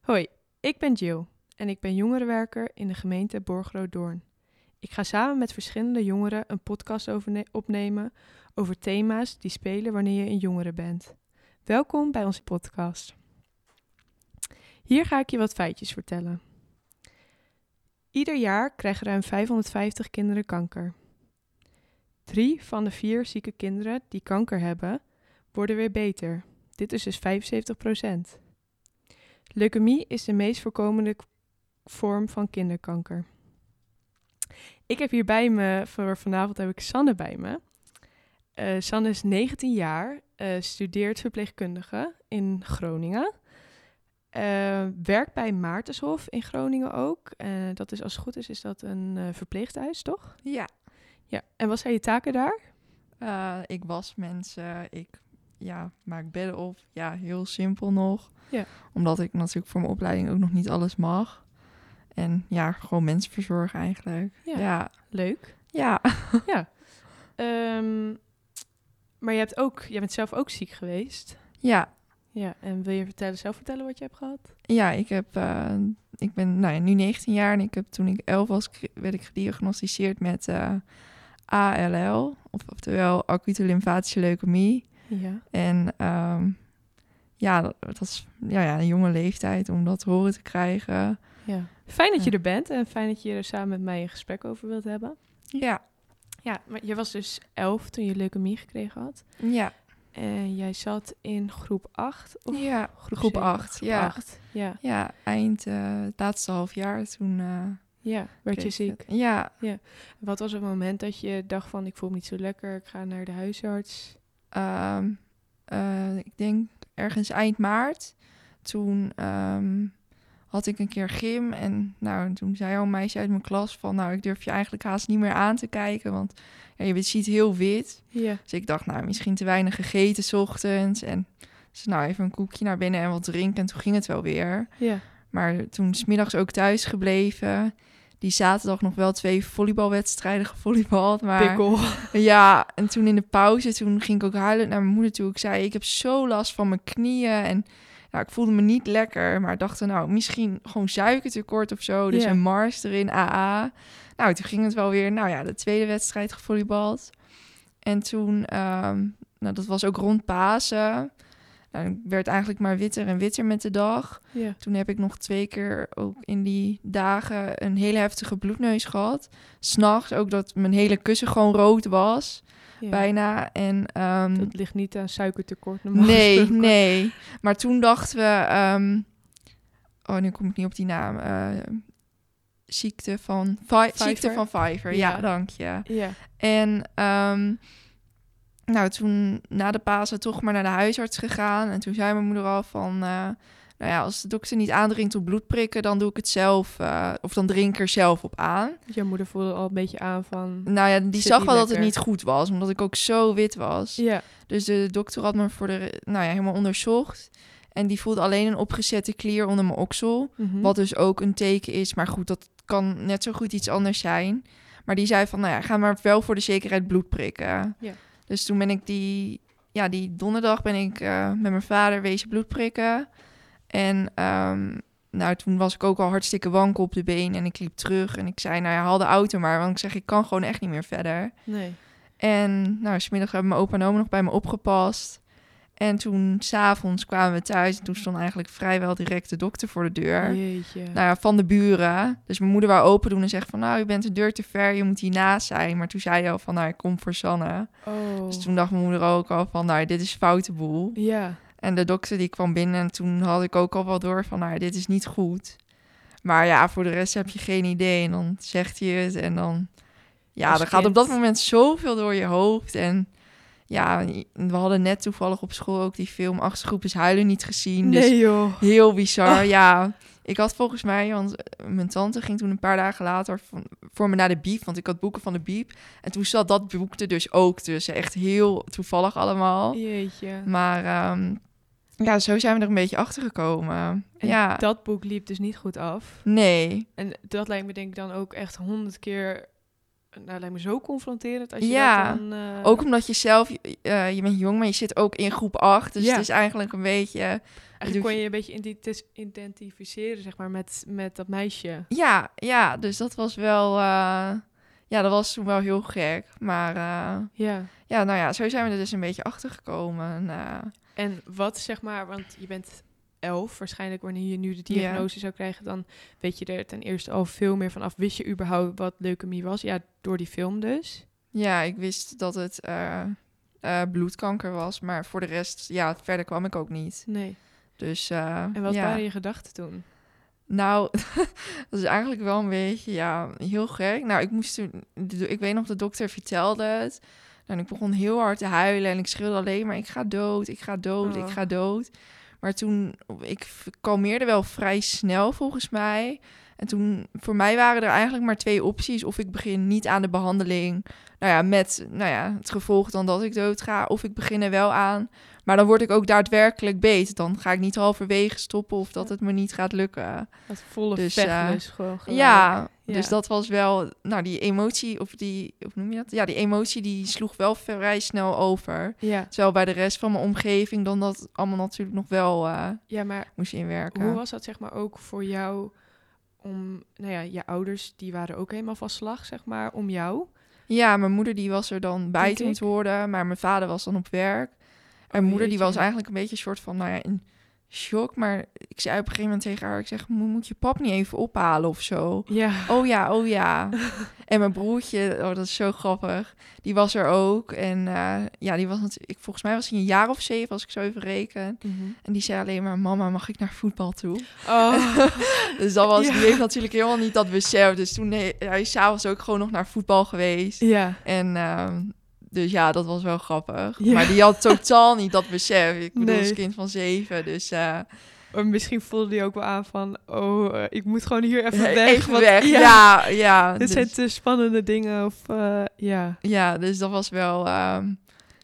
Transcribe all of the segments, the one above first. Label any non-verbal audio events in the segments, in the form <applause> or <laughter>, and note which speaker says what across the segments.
Speaker 1: Hoi, ik ben Jill en ik ben jongerenwerker in de gemeente Borgerode-Doorn. Ik ga samen met verschillende jongeren een podcast overne- opnemen over thema's die spelen wanneer je een jongere bent. Welkom bij onze podcast. Hier ga ik je wat feitjes vertellen. Ieder jaar krijgen ruim 550 kinderen kanker. Drie van de vier zieke kinderen die kanker hebben, worden weer beter. Dit is dus 75 Leukemie is de meest voorkomende k- vorm van kinderkanker. Ik heb hier bij me, voor vanavond heb ik Sanne bij me. Eh, Sanne is 19 jaar, eh, studeert verpleegkundige in Groningen. Eh, werkt bij Maartenshof in Groningen ook. Eh, dat is als het goed is, is dat een eh, verpleeghuis, toch?
Speaker 2: Ja,
Speaker 1: Ja. En wat zijn je taken daar?
Speaker 2: eh, ik was mensen, ik ja, maak bedden op. Ja, heel simpel nog.
Speaker 1: Ja.
Speaker 2: Omdat ik natuurlijk voor mijn opleiding ook nog niet alles mag. En ja, gewoon mensen verzorgen eigenlijk.
Speaker 1: Ja.
Speaker 2: ja.
Speaker 1: Leuk.
Speaker 2: ja.
Speaker 1: Ehm, maar je hebt ook, jij bent zelf ook ziek geweest.
Speaker 2: ja.
Speaker 1: Ja, en wil je vertellen, zelf vertellen wat je hebt gehad?
Speaker 2: Ja, ik, heb, eh, ik ben nou ja, nu 19 jaar en ik heb, toen ik 11 was, k- werd ik gediagnosticeerd met eh, ALL, of, oftewel acute lymfatische leukemie.
Speaker 1: Ja.
Speaker 2: En ehm, ja, dat, dat is ja, ja, een jonge leeftijd om dat te horen te krijgen.
Speaker 1: Ja. Fijn dat je
Speaker 2: Ja.
Speaker 1: er bent en fijn dat je er samen met mij een gesprek over wilt hebben.
Speaker 2: Ja,
Speaker 1: Ja, maar je was dus elf toen je leukemie gekregen had.
Speaker 2: ja,
Speaker 1: En jij zat in groep 8 of
Speaker 2: ja.
Speaker 1: groep,
Speaker 2: groep
Speaker 1: zeven?
Speaker 2: 8,
Speaker 1: Groep
Speaker 2: ja.
Speaker 1: 8. Ja.
Speaker 2: Ja, eind eh, het laatste half jaar toen... eh,
Speaker 1: Ja, werd je
Speaker 2: kreeg ik
Speaker 1: ziek.
Speaker 2: het. Ja,
Speaker 1: Wat was het moment dat je dacht van ik voel me niet zo lekker, ik ga naar de huisarts?
Speaker 2: Ehm, eh, ik denk ergens eind maart. Toen ehm, had ik een keer gym. En nou, en toen zei al een meisje uit mijn klas van... nou, ik durf je eigenlijk haast niet meer aan te kijken. Want ja, je ziet heel wit.
Speaker 1: Ja.
Speaker 2: Dus ik dacht, nou, misschien te weinig gegeten 's ochtends. En dus nou, even een koekje naar binnen en wat drinken. En toen ging het wel weer.
Speaker 1: Ja.
Speaker 2: Maar toen smiddags ook thuis gebleven. Die zaterdag nog wel twee volleybalwedstrijden gevolleybald. Maar
Speaker 1: Pikkel.
Speaker 2: ja, en toen in de pauze, toen ging ik ook huilend naar mijn moeder toe. Ik zei, ik heb zo last van mijn knieën en nou, ik voelde me niet lekker. Maar dacht, nou, misschien gewoon suikertekort of zo. Dus
Speaker 1: Ja.
Speaker 2: een mars erin, AA. Nou, toen ging het wel weer, nou ja, de tweede wedstrijd gevolleybald. En toen, ehm, nou, dat was ook rond Pasen. Nou, ik werd eigenlijk maar witter en witter met de dag.
Speaker 1: Ja.
Speaker 2: Toen heb ik nog twee keer ook in die dagen een hele heftige bloedneus gehad. S'nachts ook dat mijn hele kussen gewoon rood was,
Speaker 1: ja.
Speaker 2: bijna. En, ehm,
Speaker 1: Dat ligt niet aan
Speaker 2: <laughs>
Speaker 1: suikertekort. normaal
Speaker 2: nee,
Speaker 1: gesproken.
Speaker 2: nee. Maar toen dachten we... ehm, oh, nu kom ik niet op die naam. eh, ziekte van... Vi- ziekte
Speaker 1: Vijver?
Speaker 2: van Fiverr,
Speaker 1: Ja.
Speaker 2: ja, dank je.
Speaker 1: Ja.
Speaker 2: En ehm, nou, toen na de Pasen toch maar naar de huisarts gegaan. En toen zei mijn moeder al van... eh, nou ja, als de dokter niet aandringt op bloedprikken, dan doe ik het zelf. eh, of dan drink ik er zelf op aan.
Speaker 1: Je moeder voelde al een beetje aan van...
Speaker 2: Nou ja, die
Speaker 1: Zit
Speaker 2: zag
Speaker 1: niet
Speaker 2: wel dat het
Speaker 1: lekker.
Speaker 2: niet goed was, omdat ik ook zo wit was.
Speaker 1: Ja.
Speaker 2: Dus de dokter had me voor de, re- nou ja, helemaal onderzocht. En die voelde alleen een opgezette klier onder mijn oksel.
Speaker 1: Mhm.
Speaker 2: Wat dus ook een teken is. Maar goed, dat kan net zo goed iets anders zijn. Maar die zei van, nou ja, ga maar wel voor de zekerheid bloed prikken.
Speaker 1: Ja.
Speaker 2: Dus toen ben ik die, ja, die donderdag ben ik eh, met mijn vader wezen bloed prikken. En ehm, nou, toen was ik ook al hartstikke wankel op de been. En ik liep terug en ik zei, nou ja, haal de auto maar. Want ik zeg, ik kan gewoon echt niet meer verder.
Speaker 1: Nee.
Speaker 2: En nou, smiddag hebben mijn opa en oma nog bij me opgepast. En toen, s'avonds kwamen we thuis. En toen stond eigenlijk vrijwel direct de dokter voor de
Speaker 1: Oh
Speaker 2: deur.
Speaker 1: Jeetje.
Speaker 2: Nou ja, van de buren. Dus mijn moeder wou open doen en zegt van... nou, je bent de deur te ver, je moet hiernaast zijn. Maar toen zei hij al van, nou, ik kom voor Sanne.
Speaker 1: Oh.
Speaker 2: Dus toen dacht mijn moeder ook al van, nou, dit is foute boel.
Speaker 1: Ja.
Speaker 2: En de dokter die kwam binnen en toen had ik ook al wel door van... nou, dit is niet goed. Maar ja, voor de rest heb je geen idee. En dan zegt hij het en dan... Ja,
Speaker 1: Als
Speaker 2: er gaat op
Speaker 1: kind.
Speaker 2: dat moment zoveel door je hoofd. En ja, we hadden net toevallig op school ook die film... Acht groep is huilen niet gezien. Dus
Speaker 1: Nee joh.
Speaker 2: Heel bizar,
Speaker 1: Oh.
Speaker 2: ja. Ik had volgens mij, want eh, mijn tante ging toen een paar dagen later van- voor me naar de biep, want ik had boeken van de biep. En toen zat dat boek er dus ook tussen. Echt heel toevallig allemaal.
Speaker 1: Jeetje.
Speaker 2: Maar ehm, ja, zo zijn we er een beetje achter gekomen.
Speaker 1: En
Speaker 2: ja,
Speaker 1: dat boek liep dus niet goed af.
Speaker 2: nee.
Speaker 1: En dat lijkt me denk ik dan ook echt honderd keer nou, lijkt me zo confronterend als je
Speaker 2: Ja,
Speaker 1: dat dan... eh,
Speaker 2: Ook omdat je zelf, je- eh, je bent jong, maar je zit ook in groep 8. Dus
Speaker 1: Ja.
Speaker 2: het is eigenlijk een beetje...
Speaker 1: Eigenlijk kon je je een beetje identi- identificeren, zeg maar, met, met dat meisje.
Speaker 2: Ja, ja, dus dat was wel. eh, ja, dat was toen wel heel gek. Maar eh,
Speaker 1: Ja.
Speaker 2: ja, nou ja, zo zijn we er dus een beetje achter gekomen. eh,
Speaker 1: En wat, zeg maar, want je bent elf, waarschijnlijk wanneer je nu de diagnose zou krijgen, dan weet je er ten eerste al veel meer van af. Wist je überhaupt wat leukemie was? Ja, door die film dus.
Speaker 2: ja, ik wist dat het eh, eh, bloedkanker was. Maar voor de rest, ja, verder kwam ik ook niet.
Speaker 1: Nee.
Speaker 2: Dus. eh,
Speaker 1: En wat
Speaker 2: ja.
Speaker 1: waren je gedachten toen?
Speaker 2: Nou, <laughs> dat is eigenlijk wel een beetje, ja, heel gek. Nou, ik moest toen, de do- ik weet nog, de dokter vertelde het. Nou, En ik begon heel hard te huilen en ik schreeuwde alleen maar, ik ga dood, ik ga dood, ik
Speaker 1: Oh.
Speaker 2: ga dood. Maar toen, ik v- kalmeerde wel vrij snel volgens mij. En toen, voor mij waren er eigenlijk maar twee opties. Of ik begin niet aan de behandeling, nou ja, met nou ja, het gevolg dan dat ik dood ga. Of ik begin er wel aan, maar dan word ik ook daadwerkelijk beter. Dan ga ik niet halverwege stoppen of dat het me niet gaat lukken.
Speaker 1: Dat volle
Speaker 2: Dus,
Speaker 1: dus, gewoon gelijk.
Speaker 2: Ja, dus
Speaker 1: Ja.
Speaker 2: dat was wel, nou die emotie, of die, hoe noem je dat? Ja, die emotie die sloeg wel vrij snel over.
Speaker 1: Ja.
Speaker 2: Terwijl bij de rest van mijn omgeving dan dat allemaal natuurlijk nog wel eh,
Speaker 1: ja, maar
Speaker 2: moest
Speaker 1: hoe
Speaker 2: inwerken.
Speaker 1: was dat, zeg maar, ook voor jou om... Nou ja, je ouders, die waren ook helemaal van slag, zeg maar, om jou.
Speaker 2: Ja, mijn moeder die was er dan bij
Speaker 1: Denk
Speaker 2: toen
Speaker 1: ik. Oh,
Speaker 2: het hoorde, maar mijn vader was dan op werk. En mijn moeder die
Speaker 1: jeetje.
Speaker 2: was eigenlijk een beetje een soort van, nou ja, in shock. Maar ik zei op een gegeven moment tegen haar, ik zeg, "Mo- moet je pap niet even ophalen of zo?
Speaker 1: Ja.
Speaker 2: Oh ja, oh ja. En mijn broertje, oh, dat is zo grappig. Die was er ook. En eh, ja, die was natuurlijk, ik, volgens mij was hij een jaar of zeven, als ik zo even reken. En die zei alleen maar, mama, mag ik naar voetbal toe?
Speaker 1: Oh,
Speaker 2: Dus dat was,
Speaker 1: Ja.
Speaker 2: die heeft natuurlijk helemaal niet dat besef. Dus toen he- hij is s'avonds ook gewoon nog naar voetbal geweest.
Speaker 1: <laughs> ja.
Speaker 2: En ehm, dus ja, dat was wel grappig.
Speaker 1: Ja.
Speaker 2: Maar die had totaal niet dat besef. Ik bedoel,
Speaker 1: Nee.
Speaker 2: als kind van zeven, dus... eh,
Speaker 1: Maar misschien voelde hij ook wel aan van... Oh, eh, ik moet gewoon hier even weg.
Speaker 2: even
Speaker 1: want-
Speaker 2: weg. Ja, ja.
Speaker 1: Dit
Speaker 2: dus-
Speaker 1: zijn te spannende dingen of... eh, ja.
Speaker 2: Ja, dus dat was wel. ehm,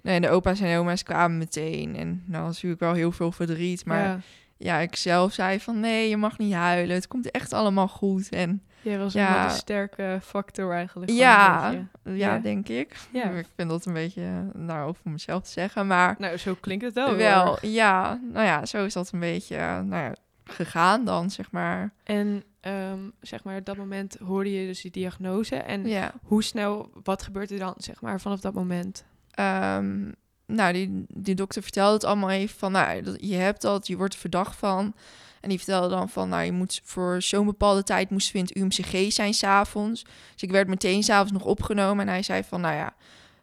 Speaker 2: nee, de opa's en oma's kwamen meteen. En nou was natuurlijk wel heel veel verdriet. Maar ja.
Speaker 1: ja.
Speaker 2: ik zelf zei van nee, je mag niet huilen. Het komt echt allemaal goed. En
Speaker 1: Jij was
Speaker 2: Ja.
Speaker 1: wel de sterke factor eigenlijk. van
Speaker 2: ja,
Speaker 1: een
Speaker 2: eh, ja, Mm.
Speaker 1: beetje. Ja.
Speaker 2: denk ik.
Speaker 1: Ja.
Speaker 2: Ik vind dat een beetje eh, nou, over mezelf te zeggen. Maar
Speaker 1: Nou, zo klinkt het wel. hoor.
Speaker 2: wel, ja, nou ja, zo is dat een beetje eh, nou ja, gegaan dan, zeg maar.
Speaker 1: En ehm, zeg maar, op dat moment hoorde je dus die diagnose. En
Speaker 2: Ja.
Speaker 1: hoe snel, wat gebeurt er dan, zeg maar, vanaf dat moment?
Speaker 2: Ehm, nou, die, die dokter vertelde het allemaal even van, nou, dat- je hebt dat, je wordt er verdacht van. En die vertelde dan van, nou, je moet voor zo'n bepaalde tijd moesten we in het UMCG zijn s'avonds. Dus ik werd meteen s'avonds nog opgenomen en hij zei van, nou ja,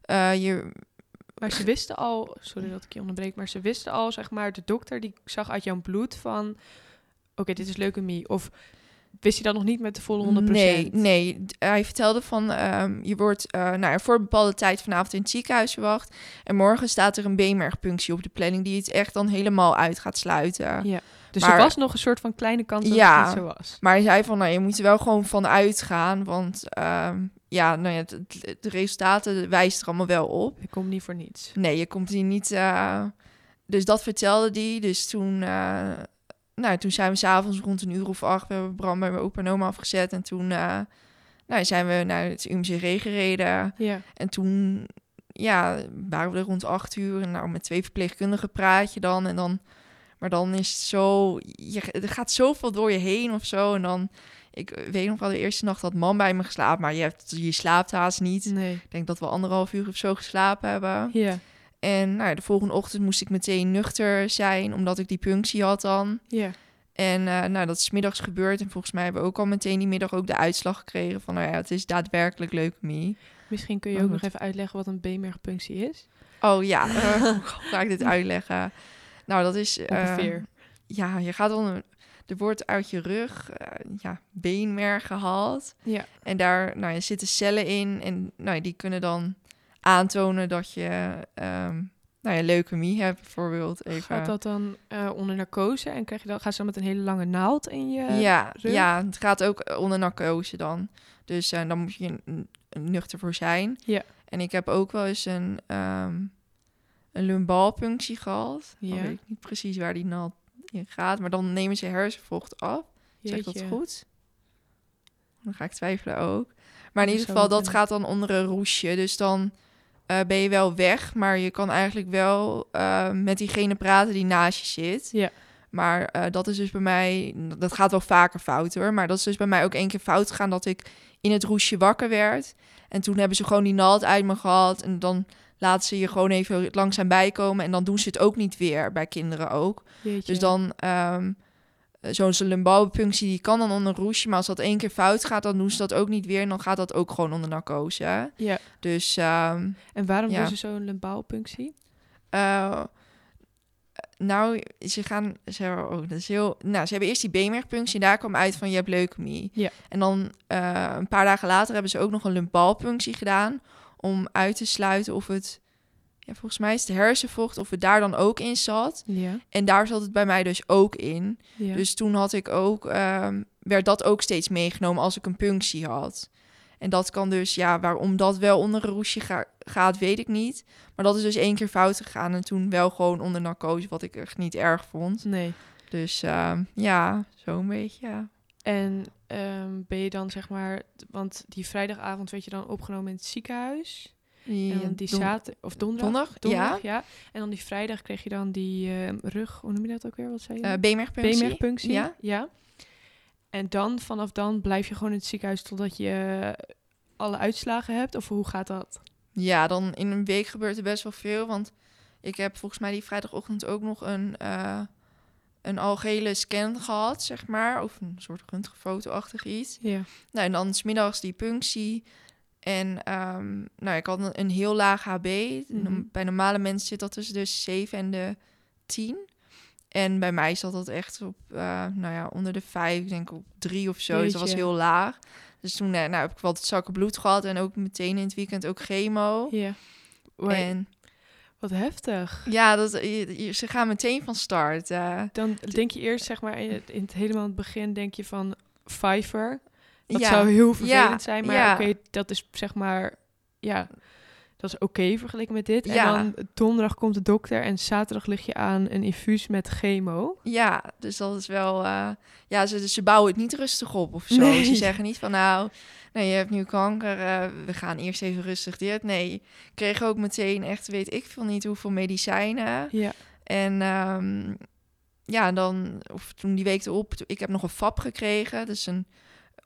Speaker 2: eh, je,
Speaker 1: Maar ze wisten al, sorry dat ik je onderbreek, maar ze wisten al, zeg maar, de dokter die zag uit jouw bloed van, oké, dit is leukemie. Of wist je dat nog niet met de volle 100%?
Speaker 2: Nee, nee. D- Hij vertelde van, ehm, je wordt eh, nou, ja, voor een bepaalde tijd vanavond in het ziekenhuis verwacht. En morgen staat er een beenmergpunctie op de planning die het echt dan helemaal uit gaat sluiten.
Speaker 1: Dus
Speaker 2: maar-
Speaker 1: er was nog een soort van kleine kans dat
Speaker 2: Ja.
Speaker 1: het niet zo was.
Speaker 2: Maar hij zei van, nou, je moet er wel gewoon van uitgaan, want ehm, ja, nou ja, het- het- de resultaten wijzen er allemaal wel op.
Speaker 1: Ik kom niet voor niets.
Speaker 2: Nee, je komt hier niet... eh, dus dat vertelde die. Dus toen, eh, nou, toen zijn we s'avonds rond een uur of acht... We hebben Bram bij mijn opa en oma afgezet. En toen eh, nou, zijn we naar het UMCG gereden.
Speaker 1: Ja,
Speaker 2: En toen ja, waren we er rond acht uur. En nou, met twee verpleegkundigen praat je dan. En dan maar dan is het zo... Je, er gaat zoveel door je heen of zo. En dan... Ik weet nog wel de eerste nacht had man bij me geslapen. Maar je, hebt, je slaapt haast niet.
Speaker 1: nee.
Speaker 2: Ik denk dat we anderhalf uur of zo geslapen hebben.
Speaker 1: Ja,
Speaker 2: En nou ja, de volgende ochtend moest ik meteen nuchter zijn, omdat ik die punctie had dan.
Speaker 1: ja.
Speaker 2: En eh, nou, dat is 's middags gebeurd. En volgens mij hebben we ook al meteen die middag ook de uitslag gekregen van, nou ja, het is daadwerkelijk leukemie.
Speaker 1: Misschien kun je
Speaker 2: Oh,
Speaker 1: ook
Speaker 2: goed.
Speaker 1: nog even uitleggen wat een beenmergpunctie is.
Speaker 2: Oh ja,
Speaker 1: <laughs>
Speaker 2: eh, hoe ga ik dit uitleggen? Nou, dat is... eh,
Speaker 1: Ongeveer.
Speaker 2: ja, je gaat dan... Er wordt uit je rug, eh, ja, beenmerg gehaald.
Speaker 1: ja.
Speaker 2: En daar nou, ja, zitten cellen in. En nou, ja, die kunnen dan aantonen dat je ehm nou ja, leukemie hebt, bijvoorbeeld. Even.
Speaker 1: Gaat dat dan eh, onder narcose en krijg je dan, gaat ze dan met een hele lange naald in je...
Speaker 2: ja,
Speaker 1: rug?
Speaker 2: ja, het gaat ook eh, onder narcose dan. Dus eh, dan moet je n- n- nuchter voor zijn.
Speaker 1: Ja.
Speaker 2: En ik heb ook wel eens een, ehm een lumbaalpunctie gehad. Dan
Speaker 1: Ja.
Speaker 2: weet ik niet precies waar die naald in gaat. Maar dan nemen ze hersenvocht af. Zeg ik
Speaker 1: Jeetje.
Speaker 2: dat goed? Dan ga ik twijfelen ook. Maar in
Speaker 1: Dat zou
Speaker 2: ieder
Speaker 1: wel
Speaker 2: geval, dat
Speaker 1: kunnen.
Speaker 2: gaat dan onder een roesje. Dus dan eh, ben je wel weg, maar je kan eigenlijk wel eh, met diegene praten die naast je zit.
Speaker 1: Ja.
Speaker 2: Maar eh, dat is dus bij mij, dat gaat wel vaker fout hoor. Maar dat is dus bij mij ook één keer fout gegaan dat ik in het roesje wakker werd. En toen hebben ze gewoon die naald uit me gehad. En dan laten ze je gewoon even langzaam bijkomen. En dan doen ze het ook niet weer bij kinderen ook.
Speaker 1: Jeetje.
Speaker 2: Dus dan ehm, zo'n lumbago functie die kan dan onder een roesje, maar als dat één keer fout gaat, dan doen ze dat ook niet weer en dan gaat dat ook gewoon onder narcose. hè.
Speaker 1: Ja.
Speaker 2: Dus ehm,
Speaker 1: En waarom
Speaker 2: ja.
Speaker 1: doen ze zo'n lumbaalpunctie?
Speaker 2: eh, nou, ze gaan, ze, oh, dat is heel, nou, ze hebben eerst die beenmergpunctie, daar kwam uit van je hebt leukemie.
Speaker 1: Ja.
Speaker 2: En dan eh, een paar dagen later hebben ze ook nog een lumbalpunctie gedaan om uit te sluiten of het, ja, volgens mij is het hersenvocht, of het daar dan ook in zat.
Speaker 1: Ja.
Speaker 2: En daar zat het bij mij dus ook in.
Speaker 1: ja.
Speaker 2: Dus toen had ik ook, ehm, werd dat ook steeds meegenomen als ik een punctie had. En dat kan dus, ja, waarom dat wel onder een roesje ga- gaat, weet ik niet. Maar dat is dus één keer fout gegaan en toen wel gewoon onder narcose, wat ik echt niet erg vond.
Speaker 1: nee.
Speaker 2: Dus ehm, ja, zo'n beetje. ja.
Speaker 1: En ehm, ben je dan zeg maar, want die vrijdagavond werd je dan opgenomen in het ziekenhuis. en dan die
Speaker 2: Don-
Speaker 1: zaterdag, of donderdag?
Speaker 2: Donderdag?
Speaker 1: Donderdag,
Speaker 2: Ja.
Speaker 1: ja. En dan die vrijdag kreeg je dan die ehm, rug, hoe noem je dat ook weer? Wat zei je?
Speaker 2: Eh
Speaker 1: nou?
Speaker 2: beenmergpunctie.
Speaker 1: Beenmergpunctie.
Speaker 2: Ja.
Speaker 1: ja. En dan, vanaf dan, blijf je gewoon in het ziekenhuis totdat je eh, alle uitslagen hebt? Of hoe gaat dat?
Speaker 2: Ja, dan in een week gebeurt er best wel veel. Want ik heb volgens mij die vrijdagochtend ook nog een, eh, een algehele scan gehad, zeg maar. Of een soort röntgenfoto-achtig iets.
Speaker 1: Ja.
Speaker 2: Nou, en dan smiddags die punctie. En ehm, nou, ik had een, een heel laag HB.
Speaker 1: Mhm.
Speaker 2: Bij normale mensen zit dat tussen de 7 en de 10. En bij mij zat dat echt op, eh, nou ja, onder de 5, ik denk op 3 of zo. Dus dat was
Speaker 1: Jeetje.
Speaker 2: heel laag. Dus toen eh, nou, heb ik wat zakken bloed gehad en ook meteen in het weekend ook chemo.
Speaker 1: Ja. Wai-
Speaker 2: En
Speaker 1: Wat heftig.
Speaker 2: ja, dat, je- je- ze gaan meteen van start. eh.
Speaker 1: Dan denk je eerst, zeg maar, in het, in het helemaal in het begin denk je van Fiverr. Dat
Speaker 2: ja,
Speaker 1: zou heel vervelend zijn, maar
Speaker 2: ja.
Speaker 1: oké, dat is zeg maar, ja, dat is oké vergeleken met dit.
Speaker 2: Ja.
Speaker 1: En dan donderdag komt de dokter en zaterdag lig je aan een infuus met chemo.
Speaker 2: ja, dus dat is wel. eh, ja, ze, ze bouwen het niet rustig op of zo.
Speaker 1: Nee.
Speaker 2: Ze zeggen niet van nou, nee, je hebt nu kanker, eh, we gaan eerst even rustig dit. Nee, ik kreeg ook meteen echt, weet ik veel niet hoeveel medicijnen.
Speaker 1: Ja.
Speaker 2: En ehm, ja, dan, of toen die week erop, to- ik heb nog een FAP gekregen, dus een,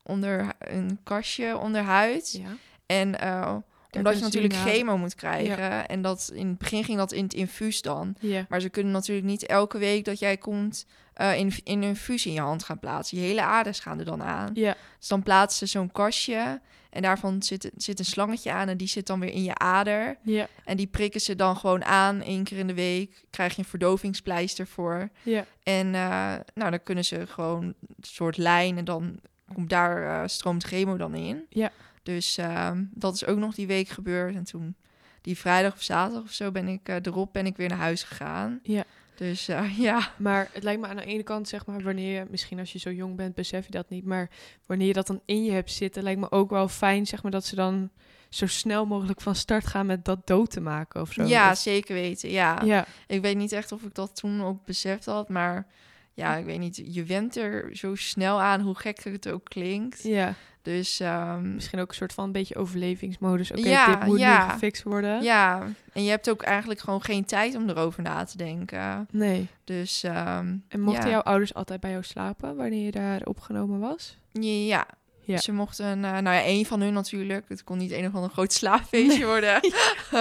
Speaker 2: onder, een kastje onder huid.
Speaker 1: ja.
Speaker 2: En eh, omdat
Speaker 1: kunnen
Speaker 2: je
Speaker 1: ze
Speaker 2: natuurlijk
Speaker 1: inderdaad-
Speaker 2: chemo moet krijgen. En dat in het begin ging dat in het infuus dan.
Speaker 1: ja.
Speaker 2: Maar ze kunnen natuurlijk niet elke week dat jij komt eh, in, in een infuus in je hand gaan plaatsen. Je hele aardes gaan er dan aan.
Speaker 1: Ja.
Speaker 2: Dus dan plaatsen ze zo'n kastje. En daarvan zit, zit een slangetje aan en die zit dan weer in je ader.
Speaker 1: Ja.
Speaker 2: En die prikken ze dan gewoon aan één keer in de week. Krijg je een verdovingspleister voor.
Speaker 1: Ja.
Speaker 2: En eh, nou, dan kunnen ze gewoon een soort lijnen. Dan komt daar eh, stroomt chemo dan in.
Speaker 1: Ja.
Speaker 2: Dus ehm, dat is ook nog die week gebeurd. En toen die vrijdag of zaterdag of zo ben ik eh, erop ben ik weer naar huis gegaan.
Speaker 1: Ja.
Speaker 2: Dus eh, <laughs> ja.
Speaker 1: Maar het lijkt me aan de ene kant, zeg maar, wanneer je, misschien als je zo jong bent, besef je dat niet. Maar wanneer je dat dan in je hebt zitten, lijkt me ook wel fijn, zeg maar, dat ze dan zo snel mogelijk van start gaan met dat dood te maken of zo.
Speaker 2: ja,
Speaker 1: Of-
Speaker 2: zeker weten. Ja.
Speaker 1: ja.
Speaker 2: Ik weet niet echt of ik dat toen ook beseft had, maar ja, ik weet niet. Je went er zo snel aan, hoe gek het ook klinkt.
Speaker 1: Ja.
Speaker 2: Dus ehm,
Speaker 1: Misschien ook een soort van een beetje overlevingsmodus. Oké,
Speaker 2: Ja,
Speaker 1: dit moet
Speaker 2: ja.
Speaker 1: nu gefixt worden.
Speaker 2: ja, en je hebt ook eigenlijk gewoon geen tijd om erover na te denken.
Speaker 1: Nee.
Speaker 2: Dus ehm,
Speaker 1: En mochten
Speaker 2: ja.
Speaker 1: jouw ouders altijd bij jou slapen wanneer je daar opgenomen was?
Speaker 2: Ja.
Speaker 1: Ja.
Speaker 2: Ze mochten, eh, nou ja, één van hun natuurlijk. Het kon niet een of ander groot <laughs> slaapfeestje worden.
Speaker 1: <laughs>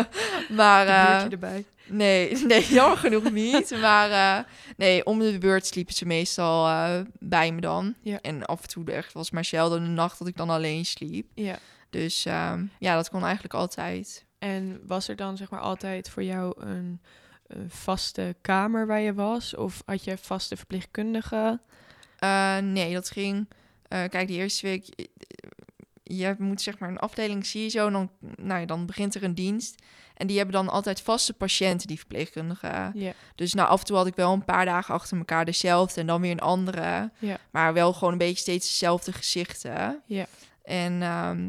Speaker 2: maar
Speaker 1: Een
Speaker 2: eh,
Speaker 1: buurtje erbij.
Speaker 2: nee, nee, jammer genoeg niet. Maar eh, nee, om de beurt sliepen ze meestal eh, bij me dan.
Speaker 1: Ja.
Speaker 2: En af en toe echt was maar zelden een nacht dat ik dan alleen sliep.
Speaker 1: Ja.
Speaker 2: Dus ehm, ja, dat kon eigenlijk altijd.
Speaker 1: En was er dan zeg maar altijd voor jou een, een vaste kamer waar je was? Of had je vaste verpleegkundige?
Speaker 2: Eh, nee, dat ging. eh, kijk, die eerste week. eh, Je moet zeg maar een afdeling CISO. En dan, nou ja, dan begint er een dienst. En die hebben dan altijd vaste patiënten, die verpleegkundigen.
Speaker 1: Ja.
Speaker 2: Dus nou, af en toe had ik wel een paar dagen achter elkaar dezelfde. En dan weer een andere.
Speaker 1: Ja.
Speaker 2: Maar wel gewoon een beetje steeds dezelfde gezichten.
Speaker 1: Ja.
Speaker 2: En ehm,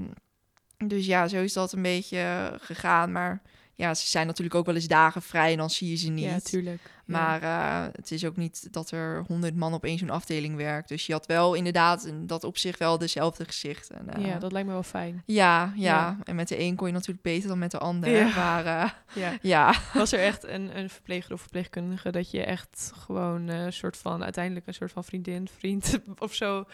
Speaker 2: dus ja, zo is dat een eh, beetje gegaan. Maar ja, ze zijn natuurlijk ook wel eens dagen vrij. En dan zie je ze niet.
Speaker 1: Ja, tuurlijk.
Speaker 2: Maar eh, het is ook niet dat er honderd man op één zo'n afdeling werkt. Dus je had wel inderdaad in dat op zich wel dezelfde gezichten. En, eh,
Speaker 1: ja, dat lijkt me wel fijn.
Speaker 2: ja, ja.
Speaker 1: Ja.
Speaker 2: En met de een kon je natuurlijk beter dan met de ander.
Speaker 1: Ja.
Speaker 2: Maar eh,
Speaker 1: Ja.
Speaker 2: ja,
Speaker 1: <laughs> Was er echt een, een verpleger of verpleegkundige dat je echt gewoon eh, een soort van, uiteindelijk een soort van vriendin, vriend <laughs> of zo,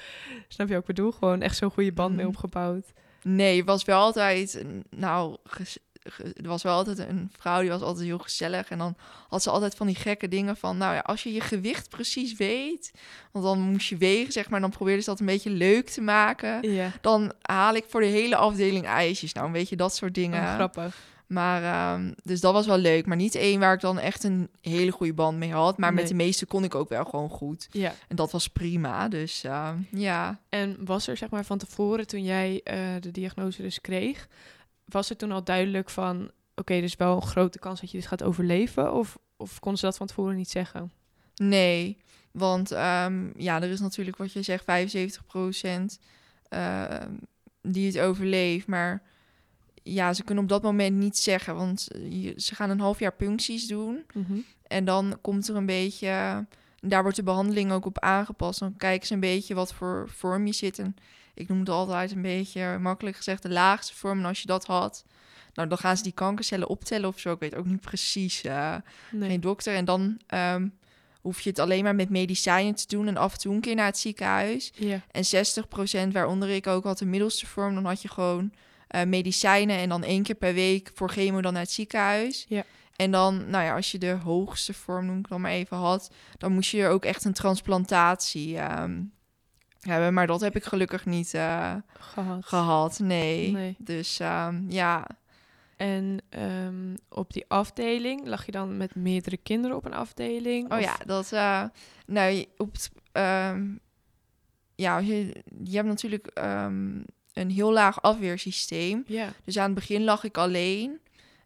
Speaker 1: snap je wat ik bedoel? Gewoon echt zo'n goede band mee
Speaker 2: Mhm.
Speaker 1: opgebouwd.
Speaker 2: Nee, het was wel altijd. een- Nou, ges- ge- er was wel altijd een vrouw die was altijd heel gezellig. En dan had ze altijd van die gekke dingen van. Nou ja, als je je gewicht precies weet. Want dan moest je wegen, zeg maar. Dan probeerde ze dat een beetje leuk te maken.
Speaker 1: Ja,
Speaker 2: Dan haal ik voor de hele afdeling ijsjes. Nou, een beetje dat soort dingen.
Speaker 1: Oh, grappig.
Speaker 2: Maar ehm, dus dat was wel leuk. Maar niet één waar ik dan echt een hele goede band mee had. Maar met
Speaker 1: Nee.
Speaker 2: de meeste kon ik ook wel gewoon goed.
Speaker 1: Ja.
Speaker 2: En dat was prima. Dus ehm, ja.
Speaker 1: En was er zeg maar van tevoren, toen jij eh, de diagnose dus kreeg, was er toen al duidelijk van, oké, dus wel een grote kans dat je dit gaat overleven? Of, of konden ze dat van tevoren niet zeggen?
Speaker 2: Nee, want ehm, ja, er is natuurlijk wat je zegt, 75% ehm, die het overleeft. Maar ja, ze kunnen op dat moment niet zeggen, want eh, je- ze gaan een half jaar puncties doen. En dan komt er een beetje, daar wordt de behandeling ook op aangepast. Dan kijken ze een beetje wat voor vorm je zit. En ik noem het altijd een beetje, makkelijk gezegd, de laagste vorm. En als je dat had, nou, dan gaan ze die kankercellen optellen of zo. Ik weet ook niet precies. eh,
Speaker 1: Nee.
Speaker 2: geen dokter. En dan ehm, hoef je het alleen maar met medicijnen te doen en af en toe een keer naar het ziekenhuis.
Speaker 1: Ja.
Speaker 2: En 60% waaronder ik ook had de middelste vorm, dan had je gewoon eh, medicijnen en dan één keer per week voor chemo dan naar het ziekenhuis.
Speaker 1: Ja.
Speaker 2: En dan, nou ja, als je de hoogste vorm, noem ik dan maar even, had, dan moest je ook echt een transplantatie ehm, hebben. Maar dat heb ik gelukkig niet eh,
Speaker 1: Gehad.
Speaker 2: gehad, nee.
Speaker 1: Nee.
Speaker 2: Dus ehm, ja,
Speaker 1: En ehm, op die afdeling lag je dan met meerdere kinderen op een afdeling?
Speaker 2: Oh
Speaker 1: Of-
Speaker 2: ja, dat. eh, nou, je- op het, ehm, ja, als je, je hebt natuurlijk ehm, een heel laag afweersysteem.
Speaker 1: Ja.
Speaker 2: Dus aan het begin lag ik alleen.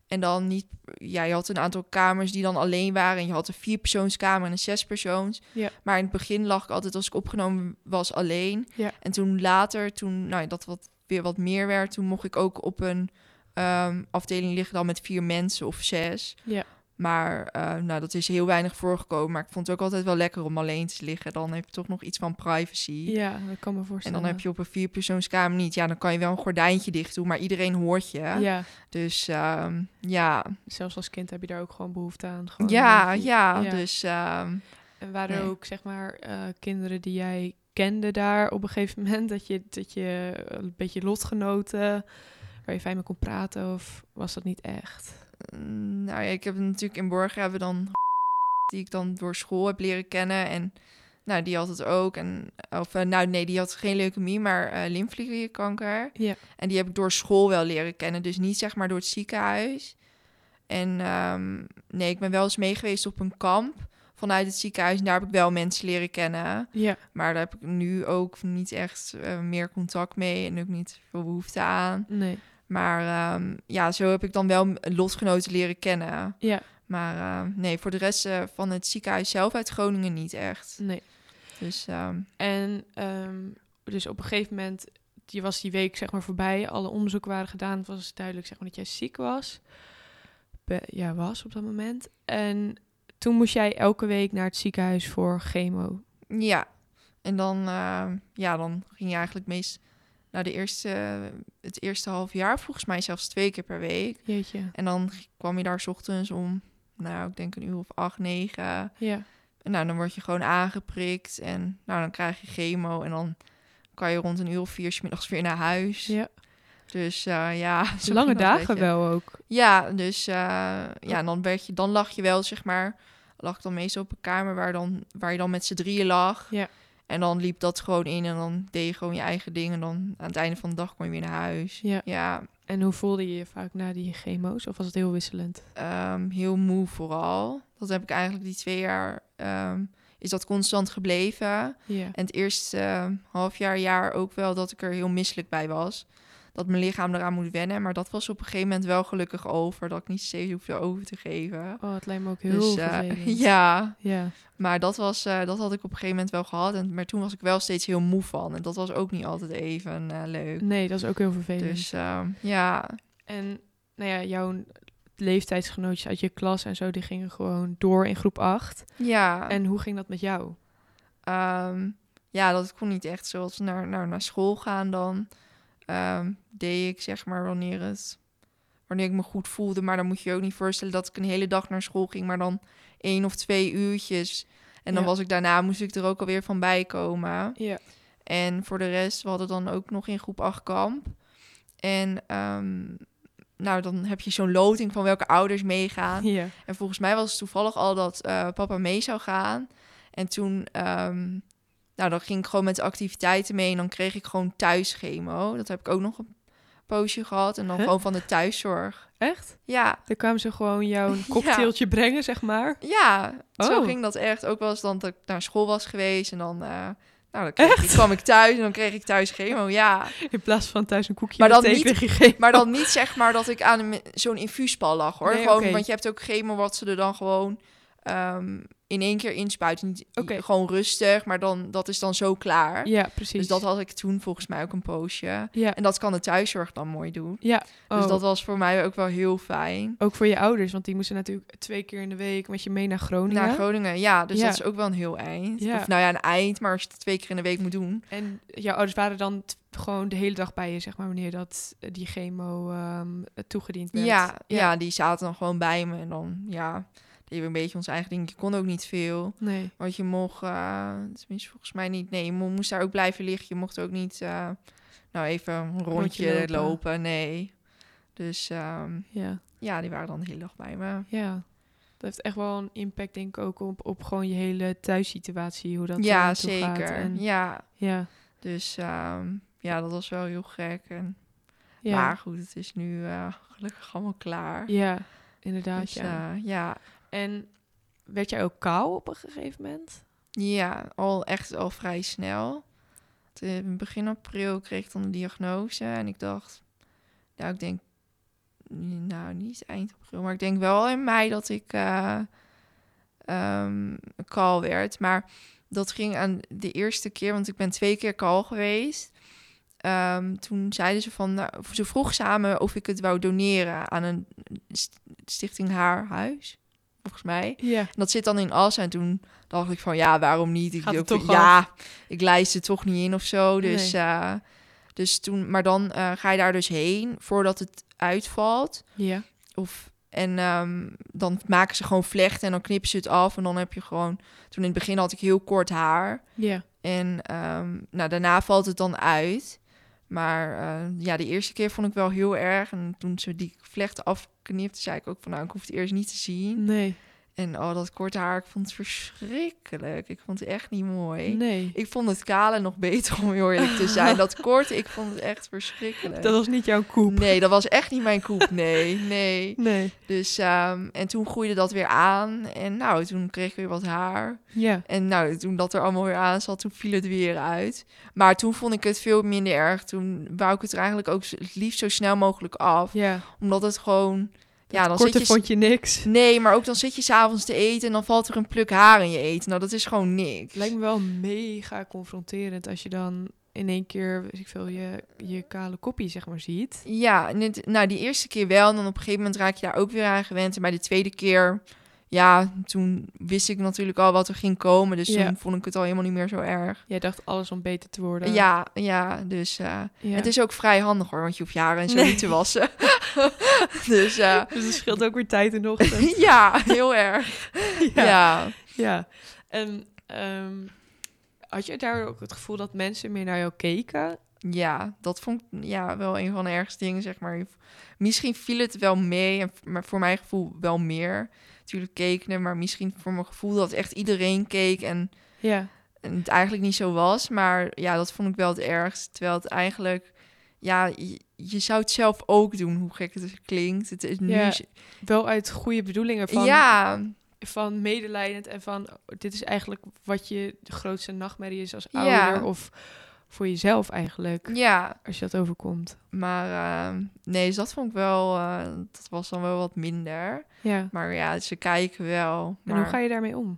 Speaker 2: En dan niet. Ja, je had een aantal kamers die dan alleen waren. En je had een vierpersoonskamer en een zespersoons.
Speaker 1: Ja.
Speaker 2: Maar in het begin lag ik altijd als ik opgenomen was alleen.
Speaker 1: Ja.
Speaker 2: En toen later, toen nou, ja, dat wat, weer wat meer werd, toen mocht ik ook op een ehm, afdeling liggen dan met vier mensen of zes.
Speaker 1: Ja.
Speaker 2: Maar eh, nou, dat is heel weinig voorgekomen. Maar ik vond het ook altijd wel lekker om alleen te liggen. Dan heb je toch nog iets van privacy.
Speaker 1: ja, dat kan me
Speaker 2: En
Speaker 1: voorstellen.
Speaker 2: dan heb je op een vierpersoonskamer niet. Ja, dan kan je wel een gordijntje dicht doen, maar iedereen hoort je.
Speaker 1: Ja,
Speaker 2: Dus ehm, ja.
Speaker 1: zelfs als kind heb je daar ook gewoon behoefte aan. Gewoon
Speaker 2: Ja,
Speaker 1: een-
Speaker 2: ja,
Speaker 1: Ja.
Speaker 2: Dus ehm,
Speaker 1: En waren er
Speaker 2: Nee.
Speaker 1: ook, zeg maar, eh, kinderen die jij kende daar op een gegeven moment? Dat je, dat je eh, een beetje lotgenoten, waar je fijn mee kon praten? Of was dat niet echt?
Speaker 2: mm, nou ja, ik heb natuurlijk in Borgen hebben we dan <laughs> die ik dan door school heb leren kennen en nou die had het ook en of eh, nou nee die had geen leukemie maar eh lymfeklierkanker
Speaker 1: Ja.
Speaker 2: en die heb ik door school wel leren kennen dus niet zeg maar door het ziekenhuis en ehm, nee ik ben wel eens meegeweest op een kamp vanuit het ziekenhuis en daar heb ik wel mensen leren kennen
Speaker 1: Ja,
Speaker 2: maar daar heb ik nu ook niet echt eh, meer contact mee en ook niet veel behoefte aan
Speaker 1: nee.
Speaker 2: Maar ehm, ja, zo heb ik dan wel lotgenoten leren kennen.
Speaker 1: Ja,
Speaker 2: Maar ehm, nee, voor de rest eh, van het ziekenhuis zelf uit Groningen niet echt.
Speaker 1: nee.
Speaker 2: Dus ehm,
Speaker 1: En ehm, dus op een gegeven moment, je was die week zeg maar voorbij, alle onderzoeken waren gedaan, het was duidelijk zeg maar dat jij ziek was. Be- ja, was op dat moment. En toen moest jij elke week naar het ziekenhuis voor chemo.
Speaker 2: ja. En dan, ehm, ja, dan ging je eigenlijk meest naar de eerste, het eerste half jaar, volgens mij zelfs twee keer per week.
Speaker 1: Jeetje.
Speaker 2: En dan g- kwam je daar 's ochtends om, nou, ik denk een uur of acht, negen.
Speaker 1: Ja,
Speaker 2: En nou, dan word je gewoon aangeprikt en nou, dan krijg je chemo. En dan kan je rond een uur of vier 's middags weer naar huis.
Speaker 1: Ja.
Speaker 2: Dus eh, ja. <laughs> zo ging
Speaker 1: lange
Speaker 2: dat een
Speaker 1: dagen
Speaker 2: beetje.
Speaker 1: wel ook.
Speaker 2: Ja, dus eh, ja, en dan, werd je, dan lag je wel, zeg maar. Lag ik dan meestal op een kamer waar, dan, waar je dan met z'n drieën lag.
Speaker 1: Ja.
Speaker 2: En dan liep dat gewoon in en dan deed je gewoon je eigen ding. En dan aan het einde van de dag kon je weer naar huis.
Speaker 1: Ja.
Speaker 2: ja
Speaker 1: En hoe voelde je je vaak na die chemo's? Of was het heel wisselend?
Speaker 2: ehm, heel moe vooral. Dat heb ik eigenlijk die twee jaar, ehm, is dat constant gebleven.
Speaker 1: Ja.
Speaker 2: En het eerste ehm, half jaar, jaar ook wel dat ik er heel misselijk bij was. Dat mijn lichaam eraan moet wennen. Maar dat was op een gegeven moment wel gelukkig over. Dat ik niet steeds hoefde over te geven.
Speaker 1: Oh, het lijkt me ook heel
Speaker 2: Dus, eh,
Speaker 1: vervelend.
Speaker 2: <laughs> ja,
Speaker 1: Ja.
Speaker 2: maar dat, was, eh, dat had ik op een gegeven moment wel gehad. En, maar toen was ik wel steeds heel moe van. En dat was ook niet altijd even eh, leuk.
Speaker 1: Nee, dat is ook heel vervelend.
Speaker 2: Dus ehm, ja,
Speaker 1: En nou ja, jouw leeftijdsgenootjes uit je klas en zo, die gingen gewoon door in groep 8.
Speaker 2: Ja,
Speaker 1: En hoe ging dat met jou?
Speaker 2: ehm, ja, dat kon niet echt zoals naar, naar, naar school gaan dan. ehm, deed ik zeg maar wanneer, het, wanneer ik me goed voelde. Maar dan moet je je ook niet voorstellen dat ik een hele dag naar school ging, maar dan één of twee uurtjes. En dan
Speaker 1: Ja.
Speaker 2: was ik daarna, moest ik er ook alweer van bijkomen.
Speaker 1: Ja.
Speaker 2: En voor de rest, we hadden dan ook nog in groep 8 kamp. En ehm, nou, dan heb je zo'n loting van welke ouders meegaan.
Speaker 1: Ja.
Speaker 2: En volgens mij was het toevallig al dat eh, papa mee zou gaan. En toen, ehm, nou, dan ging ik gewoon met de activiteiten mee. En dan kreeg ik gewoon thuis chemo. Dat heb ik ook nog een poosje gehad. En dan
Speaker 1: Huh?
Speaker 2: gewoon van de thuiszorg.
Speaker 1: Echt?
Speaker 2: Ja,
Speaker 1: Dan kwamen ze gewoon jou
Speaker 2: <laughs>
Speaker 1: een cocktailtje brengen, zeg maar.
Speaker 2: ja. Zo
Speaker 1: Oh.
Speaker 2: ging dat echt. Ook wel eens dan dat ik naar school was geweest. En dan, eh, nou, dan kreeg ik, kwam ik thuis. En dan kreeg ik thuis chemo, ja.
Speaker 1: In plaats van thuis een koekje
Speaker 2: Maar
Speaker 1: met
Speaker 2: dan
Speaker 1: thee
Speaker 2: niet-
Speaker 1: kreeg je geen-
Speaker 2: Maar dan niet zeg maar dat ik aan een- zo'n infuuspal lag hoor.
Speaker 1: Nee,
Speaker 2: gewoon,
Speaker 1: oké.
Speaker 2: Want je hebt ook chemo wat ze er dan gewoon ehm, in één keer inspuiten. Niet,
Speaker 1: Oké.
Speaker 2: Gewoon rustig, maar dan, dat is dan zo klaar.
Speaker 1: Ja, precies.
Speaker 2: Dus dat had ik toen volgens mij ook een poosje.
Speaker 1: Ja.
Speaker 2: En dat kan de thuiszorg dan mooi doen.
Speaker 1: Ja.
Speaker 2: Dus
Speaker 1: Oh,
Speaker 2: dat was voor mij ook wel heel fijn.
Speaker 1: Ook voor je ouders, want die moesten natuurlijk twee keer in de week met je mee naar Groningen.
Speaker 2: Naar Groningen, ja. Dus
Speaker 1: Ja.
Speaker 2: dat is ook wel een heel eind.
Speaker 1: Ja.
Speaker 2: Of nou ja, een eind, maar als je het twee keer in de week moet doen.
Speaker 1: En jouw ouders waren dan t- gewoon de hele dag bij je, zeg maar, wanneer dat eh, die chemo ehm, toegediend werd.
Speaker 2: Ja, ja. die zaten dan gewoon bij me. En dan, ja, deden we een beetje ons eigen ding. Je kon ook niet veel.
Speaker 1: Nee.
Speaker 2: Want je mocht, eh, tenminste volgens mij niet, nee, je mo- moest daar ook blijven liggen. Je mocht ook niet, eh, nou even een rondje,
Speaker 1: lopen.
Speaker 2: lopen. nee. Dus ehm,
Speaker 1: Ja.
Speaker 2: ja, die waren dan de hele dag bij me.
Speaker 1: Ja. Dat heeft echt wel een impact, denk ik, ook op, op gewoon je hele thuissituatie, hoe dat
Speaker 2: ja,
Speaker 1: eraan toe gaat.
Speaker 2: zeker.
Speaker 1: En,
Speaker 2: Ja,
Speaker 1: ja.
Speaker 2: dus ehm, ja, dat was wel heel gek. En,
Speaker 1: Ja.
Speaker 2: Maar goed, het is nu eh, gelukkig allemaal klaar.
Speaker 1: Ja, inderdaad.
Speaker 2: Dus,
Speaker 1: ja.
Speaker 2: eh, ja,
Speaker 1: En werd jij ook kaal op een gegeven moment?
Speaker 2: ja, al echt al vrij snel. Te- begin april kreeg ik dan de diagnose en ik dacht, nou ik denk, nou niet eind april, maar ik denk wel in mei dat ik eh ehm, kal werd. Maar dat ging aan de eerste keer, want ik ben twee keer kal geweest. Ehm, toen zeiden ze van, nou, ze vroeg samen of ik het wou doneren aan een st- stichting Haar Huis, volgens mij.
Speaker 1: Ja.
Speaker 2: En dat zit dan in Assen. En toen dacht ik van, ja, waarom niet? Ik
Speaker 1: Gaat
Speaker 2: doe
Speaker 1: het
Speaker 2: ook-
Speaker 1: toch
Speaker 2: ja, ik lijst er toch niet in of zo. Dus,
Speaker 1: Nee.
Speaker 2: eh, dus toen, maar dan eh, ga je daar dus heen voordat het uitvalt.
Speaker 1: Ja.
Speaker 2: Of, en ehm, dan maken ze gewoon vlechten en dan knippen ze het af. En dan heb je gewoon... Toen in het begin had ik heel kort haar.
Speaker 1: Ja.
Speaker 2: En ehm, nou, daarna valt het dan uit. Maar eh, ja, de eerste keer vond ik wel heel erg. En toen ze die vlechten afknipte, zei ik ook van... Nou, ik hoef het eerst niet te zien.
Speaker 1: Nee.
Speaker 2: En oh, dat korte haar, ik vond het verschrikkelijk. Ik vond het echt niet mooi.
Speaker 1: Nee.
Speaker 2: Ik vond het kale nog beter, om heel eerlijk te zijn.
Speaker 1: <laughs>
Speaker 2: Dat korte, ik vond het echt verschrikkelijk.
Speaker 1: Dat was niet jouw koep.
Speaker 2: Nee, dat was echt niet mijn koep. Nee, nee.
Speaker 1: Nee.
Speaker 2: Dus, ehm, en toen groeide dat weer aan. En nou, toen kreeg ik weer wat haar.
Speaker 1: Ja.
Speaker 2: En nou, toen dat er allemaal weer aan zat, toen viel het weer uit. Maar toen vond ik het veel minder erg. Toen wou ik het er eigenlijk ook z- het liefst zo snel mogelijk af.
Speaker 1: Ja.
Speaker 2: Omdat het gewoon... Ja, dan zit
Speaker 1: Korte
Speaker 2: je
Speaker 1: vond je niks.
Speaker 2: Nee, maar ook dan zit je s'avonds te eten en dan valt er een pluk haar in je eten. Nou, dat is gewoon niks.
Speaker 1: Lijkt me wel mega confronterend als je dan in één keer, weet ik veel, je, je kale koppie, zeg maar, ziet.
Speaker 2: Ja, en het- nou, die eerste keer wel. En dan op een gegeven moment raak je daar ook weer aan gewend. En bij de tweede keer, ja, toen wist ik natuurlijk al wat er ging komen. Dus
Speaker 1: Ja.
Speaker 2: toen vond ik het al helemaal niet meer zo erg.
Speaker 1: Jij dacht alles om beter te worden.
Speaker 2: Ja, ja, dus eh,
Speaker 1: Ja.
Speaker 2: het is ook vrij handig hoor, want je hoeft je haren en zo
Speaker 1: Nee.
Speaker 2: niet te wassen. <laughs> dus
Speaker 1: <laughs>
Speaker 2: eh,
Speaker 1: Dus het scheelt ook weer tijd in de
Speaker 2: <laughs>
Speaker 1: ochtend.
Speaker 2: ja, heel erg. Ja.
Speaker 1: Ja, en ehm, had je daar ook het gevoel dat mensen meer naar jou keken?
Speaker 2: Ja, dat vond ik ja, wel een van de ergste dingen, zeg maar. Misschien viel het wel mee, en v- maar voor mijn gevoel wel meer. Natuurlijk keken er, maar misschien voor mijn gevoel dat echt iedereen keek en,
Speaker 1: Ja,
Speaker 2: en het eigenlijk niet zo was. Maar ja, dat vond ik wel het ergst. Terwijl het eigenlijk, ja, je, je zou het zelf ook doen, hoe gek het ook klinkt. Het is nu,
Speaker 1: Ja,
Speaker 2: ja,
Speaker 1: wel uit goede bedoelingen van,
Speaker 2: ja,
Speaker 1: van medelijdend en van oh, dit is eigenlijk wat je de grootste nachtmerrie is als
Speaker 2: Ja.
Speaker 1: ouder of voor jezelf eigenlijk, als je dat overkomt.
Speaker 2: Maar ehm, nee, dus dat vond ik wel, eh, dat was dan wel wat minder.
Speaker 1: Ja, en
Speaker 2: Maar ja, ze kijken wel. Maar...
Speaker 1: hoe ga je daarmee om?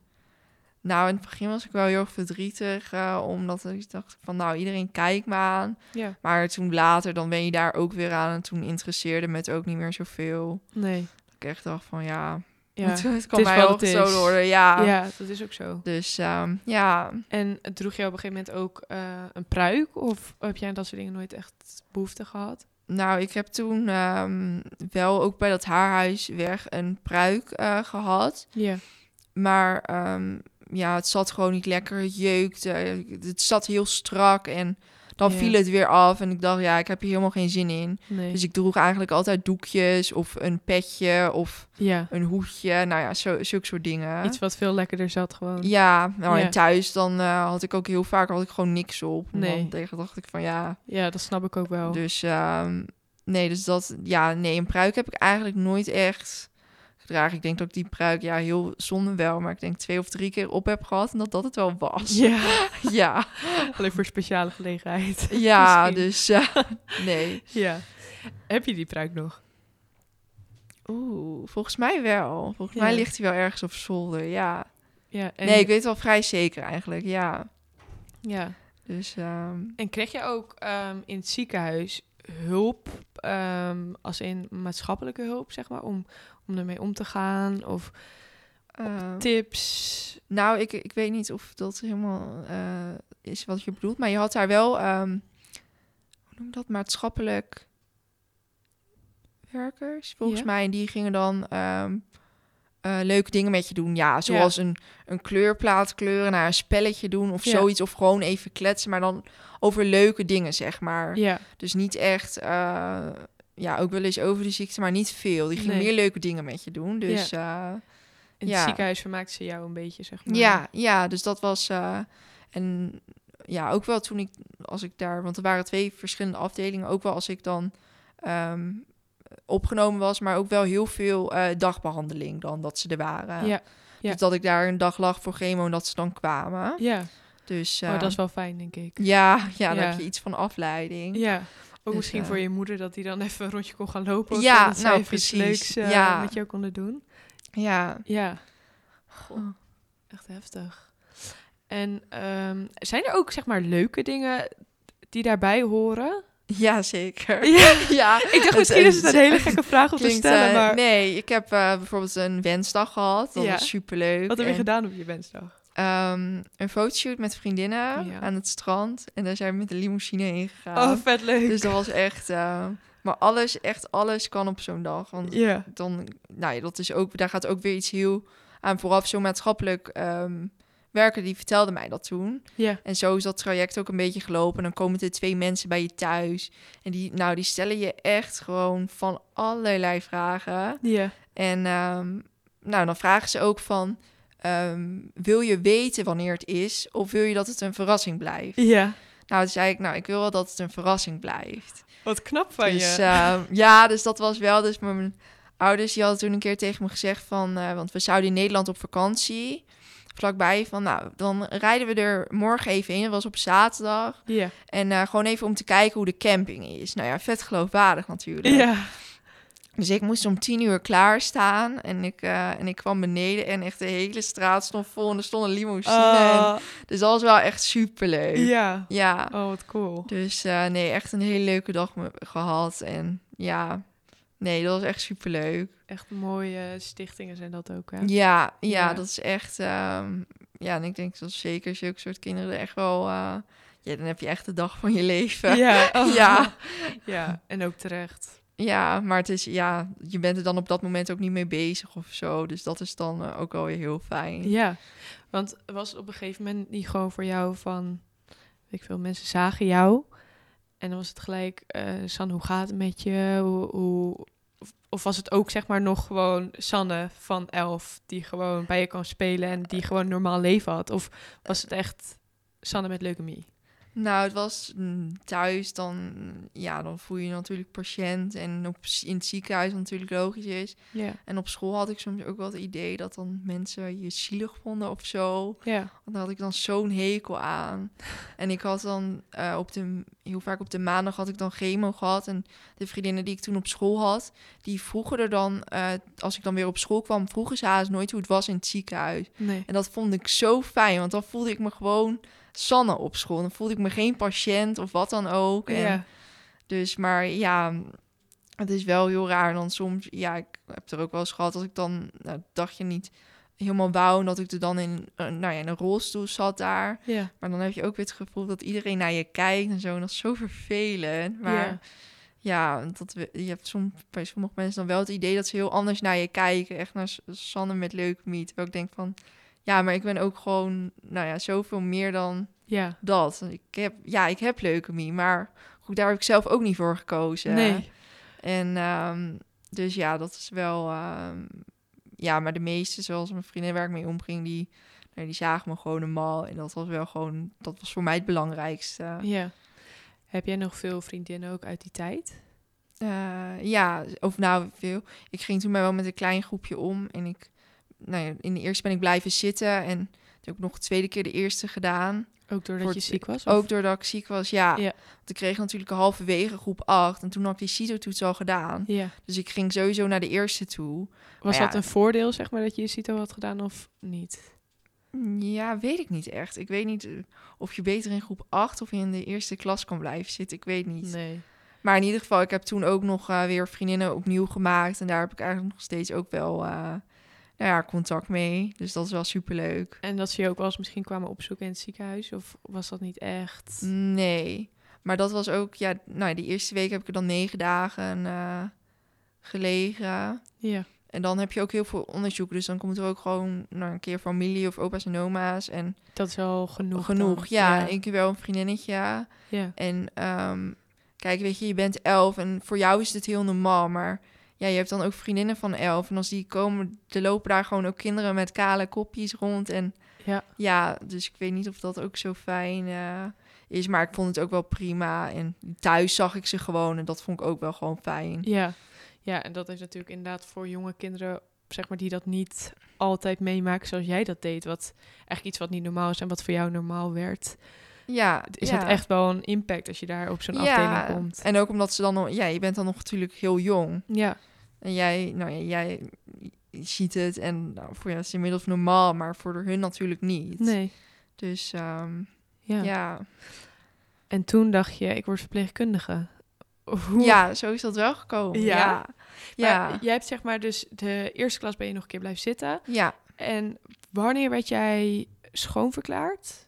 Speaker 2: Nou, in het begin was ik wel heel erg verdrietig, eh, omdat ik dacht van, nou, iedereen kijkt me aan.
Speaker 1: Ja,
Speaker 2: Maar toen later, dan ben je daar ook weer aan en toen interesseerde me het ook niet meer zoveel.
Speaker 1: nee.
Speaker 2: Ik ik echt dacht van ja,
Speaker 1: Ja,
Speaker 2: <laughs> het, het kan
Speaker 1: is
Speaker 2: mij
Speaker 1: wat
Speaker 2: ook
Speaker 1: het is.
Speaker 2: zo worden. Ja.
Speaker 1: ja, dat is ook zo.
Speaker 2: Dus ehm, ja,
Speaker 1: En droeg jij op een gegeven moment ook eh, een pruik? Of heb jij aan dat soort dingen nooit echt behoefte gehad?
Speaker 2: nou, ik heb toen ehm, wel ook bij dat haarhuis weg een pruik eh, gehad.
Speaker 1: Ja.
Speaker 2: Maar ehm, ja, het zat gewoon niet lekker. Het jeukte. Het zat heel strak. En dan
Speaker 1: Ja.
Speaker 2: viel het weer af. En ik dacht, ja, ik heb hier helemaal geen zin in.
Speaker 1: Nee.
Speaker 2: Dus ik droeg eigenlijk altijd doekjes of een petje of
Speaker 1: ja,
Speaker 2: een hoedje. Nou ja, zo, zulke soort dingen.
Speaker 1: iets wat veel lekkerder zat gewoon.
Speaker 2: Ja, nou
Speaker 1: Ja.
Speaker 2: en thuis dan eh, had ik ook heel vaak had ik gewoon niks op.
Speaker 1: Nee. Oh.
Speaker 2: Nee. Tegen dacht ik van ja.
Speaker 1: Ja, dat snap ik ook wel.
Speaker 2: Dus ehm, nee, dus dat ja, nee, een pruik heb ik eigenlijk nooit echt gedragen. Ik denk dat ik die pruik ja heel zonde wel, maar ik denk twee of drie keer op heb gehad en dat dat het wel was.
Speaker 1: <laughs> Ja,
Speaker 2: <laughs> Ja,
Speaker 1: alleen voor speciale gelegenheid. <laughs>
Speaker 2: ja,
Speaker 1: Misschien.
Speaker 2: dus eh,
Speaker 1: <laughs>
Speaker 2: nee.
Speaker 1: Ja. Heb je die pruik nog?
Speaker 2: Oeh, volgens mij wel. Volgens
Speaker 1: Ja.
Speaker 2: mij ligt hij wel ergens op zolder. Ja.
Speaker 1: Ja. En,
Speaker 2: Nee, ik weet het wel vrij zeker eigenlijk. Ja.
Speaker 1: ja.
Speaker 2: Dus ehm,
Speaker 1: En kreeg je ook ehm, in het ziekenhuis hulp, ehm, als in maatschappelijke hulp, zeg maar, om, om ermee om te gaan? Of
Speaker 2: ehm,
Speaker 1: tips?
Speaker 2: Nou, ik, ik weet niet of dat helemaal eh, is wat je bedoelt. Maar je had daar wel, ehm, hoe noem je dat, maatschappelijk werkers, volgens
Speaker 1: Ja.
Speaker 2: mij. En die gingen dan ehm, eh, leuke dingen met je doen. Ja, zoals Een, een kleurplaat kleuren, naar een spelletje doen of
Speaker 1: Ja.
Speaker 2: zoiets. Of gewoon even kletsen, maar dan over leuke dingen, zeg maar.
Speaker 1: Ja,
Speaker 2: Dus niet echt, eh, ja, ook wel eens over de ziekte, maar niet veel. Die gingen
Speaker 1: Nee.
Speaker 2: meer leuke dingen met je doen. Dus ja.
Speaker 1: in het
Speaker 2: Ja.
Speaker 1: ziekenhuis vermaakten ze jou een beetje, zeg maar.
Speaker 2: Ja, ja, dus dat was. eh, en ja, ook wel toen ik, als ik daar, want er waren twee verschillende afdelingen, ook wel als ik dan ehm, opgenomen was, maar ook wel heel veel eh, dagbehandeling dan dat ze er waren.
Speaker 1: Ja, ja.
Speaker 2: Dus dat ik daar een dag lag voor chemo en dat ze dan kwamen.
Speaker 1: Ja,
Speaker 2: Dus eh,
Speaker 1: oh, dat is wel fijn, denk ik.
Speaker 2: ja, ja, dan
Speaker 1: Ja.
Speaker 2: heb je iets van afleiding.
Speaker 1: Ja, ook
Speaker 2: Dus,
Speaker 1: misschien
Speaker 2: eh,
Speaker 1: voor je moeder dat die dan even een rondje kon gaan lopen. of
Speaker 2: Ja,
Speaker 1: zo, dat zij
Speaker 2: nou,
Speaker 1: even iets leuks
Speaker 2: precies.
Speaker 1: eh,
Speaker 2: Ja.
Speaker 1: met jou konden doen.
Speaker 2: Ja.
Speaker 1: Ja. Goh,
Speaker 2: Oh.
Speaker 1: echt heftig. En ehm, zijn er ook, zeg maar, leuke dingen die daarbij horen?
Speaker 2: ja, zeker.
Speaker 1: Ja,
Speaker 2: <laughs> ja.
Speaker 1: ik dacht misschien is het een
Speaker 2: <laughs>
Speaker 1: hele gekke vraag om te
Speaker 2: eh, Klinkt,
Speaker 1: stellen,
Speaker 2: eh,
Speaker 1: maar
Speaker 2: Nee, ik heb eh, bijvoorbeeld een wensdag gehad. Dat
Speaker 1: Ja.
Speaker 2: was superleuk.
Speaker 1: wat heb je
Speaker 2: En-
Speaker 1: gedaan op je wensdag?
Speaker 2: ehm, een fotoshoot met vriendinnen
Speaker 1: Oh, Ja.
Speaker 2: aan het strand. En daar zijn we met de limousine heen gegaan.
Speaker 1: Oh, vet leuk.
Speaker 2: dus dat was echt... ehm, maar alles, echt alles kan op zo'n dag. Want
Speaker 1: ja.
Speaker 2: dan, nou ja, dat is ook, daar gaat ook weer iets heel aan vooraf. Zo'n maatschappelijk ehm, werker, die vertelde mij dat toen.
Speaker 1: Ja.
Speaker 2: En zo is dat traject ook een beetje gelopen. En dan komen er twee mensen bij je thuis. En die, nou, die stellen je echt gewoon van allerlei vragen.
Speaker 1: Ja.
Speaker 2: En ehm, nou, dan vragen ze ook van... ehm, wil je weten wanneer het is of wil je dat het een verrassing blijft?
Speaker 1: Ja.
Speaker 2: Nou, toen zei ik, nou, ik wil wel dat het een verrassing blijft.
Speaker 1: Wat knap van
Speaker 2: dus
Speaker 1: je.
Speaker 2: ehm, ja, dus dat was wel. Dus mijn ouders die hadden toen een keer tegen me gezegd van... eh, want we zouden in Nederland op vakantie, vlakbij, van nou, dan rijden we er morgen even heen. Dat was op zaterdag.
Speaker 1: Ja.
Speaker 2: En eh, gewoon even om te kijken hoe de camping is. Nou ja, vet geloofwaardig natuurlijk.
Speaker 1: Ja.
Speaker 2: Dus ik moest om tien uur klaarstaan en ik, eh, en ik kwam beneden en echt de hele straat stond vol en er stond een limousine.
Speaker 1: Oh,
Speaker 2: En- Dus dat was wel echt superleuk.
Speaker 1: ja.
Speaker 2: Ja.
Speaker 1: Oh, wat cool.
Speaker 2: Dus eh, nee, echt een hele leuke dag me- gehad en ja, nee, dat was echt superleuk.
Speaker 1: Echt mooie stichtingen zijn dat ook, hè?
Speaker 2: Ja, ja,
Speaker 1: Ja.
Speaker 2: dat is echt, ehm, ja, en ik denk dat zeker zulke soort kinderen er echt wel, eh, ja, dan heb je echt de dag van je leven.
Speaker 1: Ja. oh.
Speaker 2: <laughs> Ja.
Speaker 1: Ja, en ook terecht.
Speaker 2: Ja, maar het is, ja, je bent er dan op dat moment ook niet mee bezig of zo, dus dat is dan eh, ook wel weer heel fijn.
Speaker 1: Ja, want was op een gegeven moment niet gewoon voor jou van... Weet ik veel, mensen zagen jou. En dan was het gelijk, eh, San, hoe gaat het met je? Hoe, hoe, of, of was het ook zeg maar nog gewoon Sanne van elf... die gewoon bij je kan spelen en die gewoon een normaal leven had? Of was het echt Sanne met leukemie?
Speaker 2: Nou, het was mm, thuis, dan, ja, dan voel je je natuurlijk patiënt. En op, s- in het ziekenhuis wat natuurlijk logisch is.
Speaker 1: Ja,
Speaker 2: En op school had ik soms ook wel het idee dat dan mensen je zielig vonden of zo.
Speaker 1: ja,
Speaker 2: Want daar had ik dan zo'n hekel aan. En ik had dan eh, op de, heel vaak op de maandag had ik dan chemo gehad. En de vriendinnen die ik toen op school had, die vroegen er dan, eh, als ik dan weer op school kwam, vroegen ze haast nooit hoe het was in het ziekenhuis.
Speaker 1: nee.
Speaker 2: En dat vond ik zo fijn, want dan voelde ik me gewoon Sanne op school. Dan voelde ik me geen patiënt of wat dan ook. En
Speaker 1: Ja,
Speaker 2: Dus, maar ja, het is wel heel raar. Dan soms, ja, ik heb er ook wel eens gehad dat ik dan nou, het dagje niet helemaal wou. En dat ik er dan in, eh, nou ja, in een rolstoel zat daar.
Speaker 1: Ja.
Speaker 2: Maar dan heb je ook weer het gevoel dat iedereen naar je kijkt en zo. En dat is zo vervelend. Maar
Speaker 1: Ja.
Speaker 2: ja, dat we, je hebt soms bij sommige mensen dan wel het idee dat ze heel anders naar je kijken. Echt naar S- Sanne met leukemie. Terwijl ik denk van, ja, maar ik ben ook gewoon, nou ja, zoveel meer dan
Speaker 1: Ja.
Speaker 2: dat. Ik heb, ja, ik heb leukemie, maar goed, daar heb ik zelf ook niet voor gekozen.
Speaker 1: Nee.
Speaker 2: En ehm, dus ja, dat is wel. ehm, ja, maar de meeste, zoals mijn vriendin waar ik mee omging, die, nou, die zagen me gewoon een mal. En dat was wel gewoon, dat was voor mij het belangrijkste.
Speaker 1: Ja. Heb jij nog veel vriendinnen ook uit die tijd?
Speaker 2: Eh, ja, of nou veel. Ik ging toen maar wel met een klein groepje om. En ik, nou ja, in de eerste ben ik blijven zitten. En toen heb ik nog de tweede keer de eerste gedaan.
Speaker 1: Ook doordat
Speaker 2: Voor
Speaker 1: je
Speaker 2: het-
Speaker 1: ziek was? of-
Speaker 2: Ook doordat ik ziek was, ja.
Speaker 1: Ja.
Speaker 2: Want ik kreeg natuurlijk halverwege groep 8. En toen had ik die CITO-toets al gedaan.
Speaker 1: Ja.
Speaker 2: Dus ik ging sowieso naar de eerste toe.
Speaker 1: Was
Speaker 2: ja.
Speaker 1: dat een voordeel, zeg maar, dat je je CITO had gedaan of niet?
Speaker 2: Ja, weet ik niet echt. Ik weet niet eh, of je beter in groep 8 of in de eerste klas kan blijven zitten. Ik weet niet.
Speaker 1: Nee.
Speaker 2: Maar in ieder geval, ik heb toen ook nog eh, weer vriendinnen opnieuw gemaakt. En daar heb ik eigenlijk nog steeds ook wel eh, nou ja, contact mee. Dus dat is wel superleuk.
Speaker 1: En dat ze je ook wel eens misschien kwamen opzoeken in het ziekenhuis? Of was dat niet echt?
Speaker 2: Nee. Maar dat was ook, ja, nou, ja, die eerste week heb ik er dan negen dagen eh, gelegen.
Speaker 1: Ja.
Speaker 2: En dan heb je ook heel veel onderzoek. Dus dan komt er ook gewoon nou, een keer familie of opa's en oma's. En
Speaker 1: Dat is al genoeg.
Speaker 2: genoeg,
Speaker 1: dan.
Speaker 2: ja.
Speaker 1: Ja.
Speaker 2: één keer wel een vriendinnetje.
Speaker 1: ja.
Speaker 2: En ehm, kijk, weet je, je bent elf en voor jou is het heel normaal, maar ja, je hebt dan ook vriendinnen van elf. En als die komen, er lopen daar gewoon ook kinderen met kale kopjes rond. En
Speaker 1: Ja.
Speaker 2: ja, dus ik weet niet of dat ook zo fijn eh, is, maar ik vond het ook wel prima. En thuis zag ik ze gewoon en dat vond ik ook wel gewoon fijn.
Speaker 1: Ja. ja, en dat is natuurlijk inderdaad voor jonge kinderen, zeg maar, die dat niet altijd meemaken zoals jij dat deed. Wat eigenlijk iets wat niet normaal is en wat voor jou normaal werd.
Speaker 2: Ja,
Speaker 1: Is
Speaker 2: ja.
Speaker 1: het echt wel een impact als je daar op zo'n afdeling komt?
Speaker 2: En ook omdat ze dan, nog- ja, je bent dan nog natuurlijk heel jong.
Speaker 1: Ja,
Speaker 2: En jij, nou ja, jij ziet het en nou, voor jou is het inmiddels normaal, maar voor hun natuurlijk niet.
Speaker 1: nee.
Speaker 2: Dus ehm,
Speaker 1: Ja.
Speaker 2: ja. Ja.
Speaker 1: En toen dacht je, ik word verpleegkundige. <laughs> Hoe?
Speaker 2: zo is dat wel gekomen.
Speaker 1: Ja?
Speaker 2: Ja.
Speaker 1: Maar
Speaker 2: Ja.
Speaker 1: Jij hebt zeg maar dus de eerste klas ben je nog een keer blijven zitten.
Speaker 2: ja.
Speaker 1: En wanneer werd jij schoonverklaard?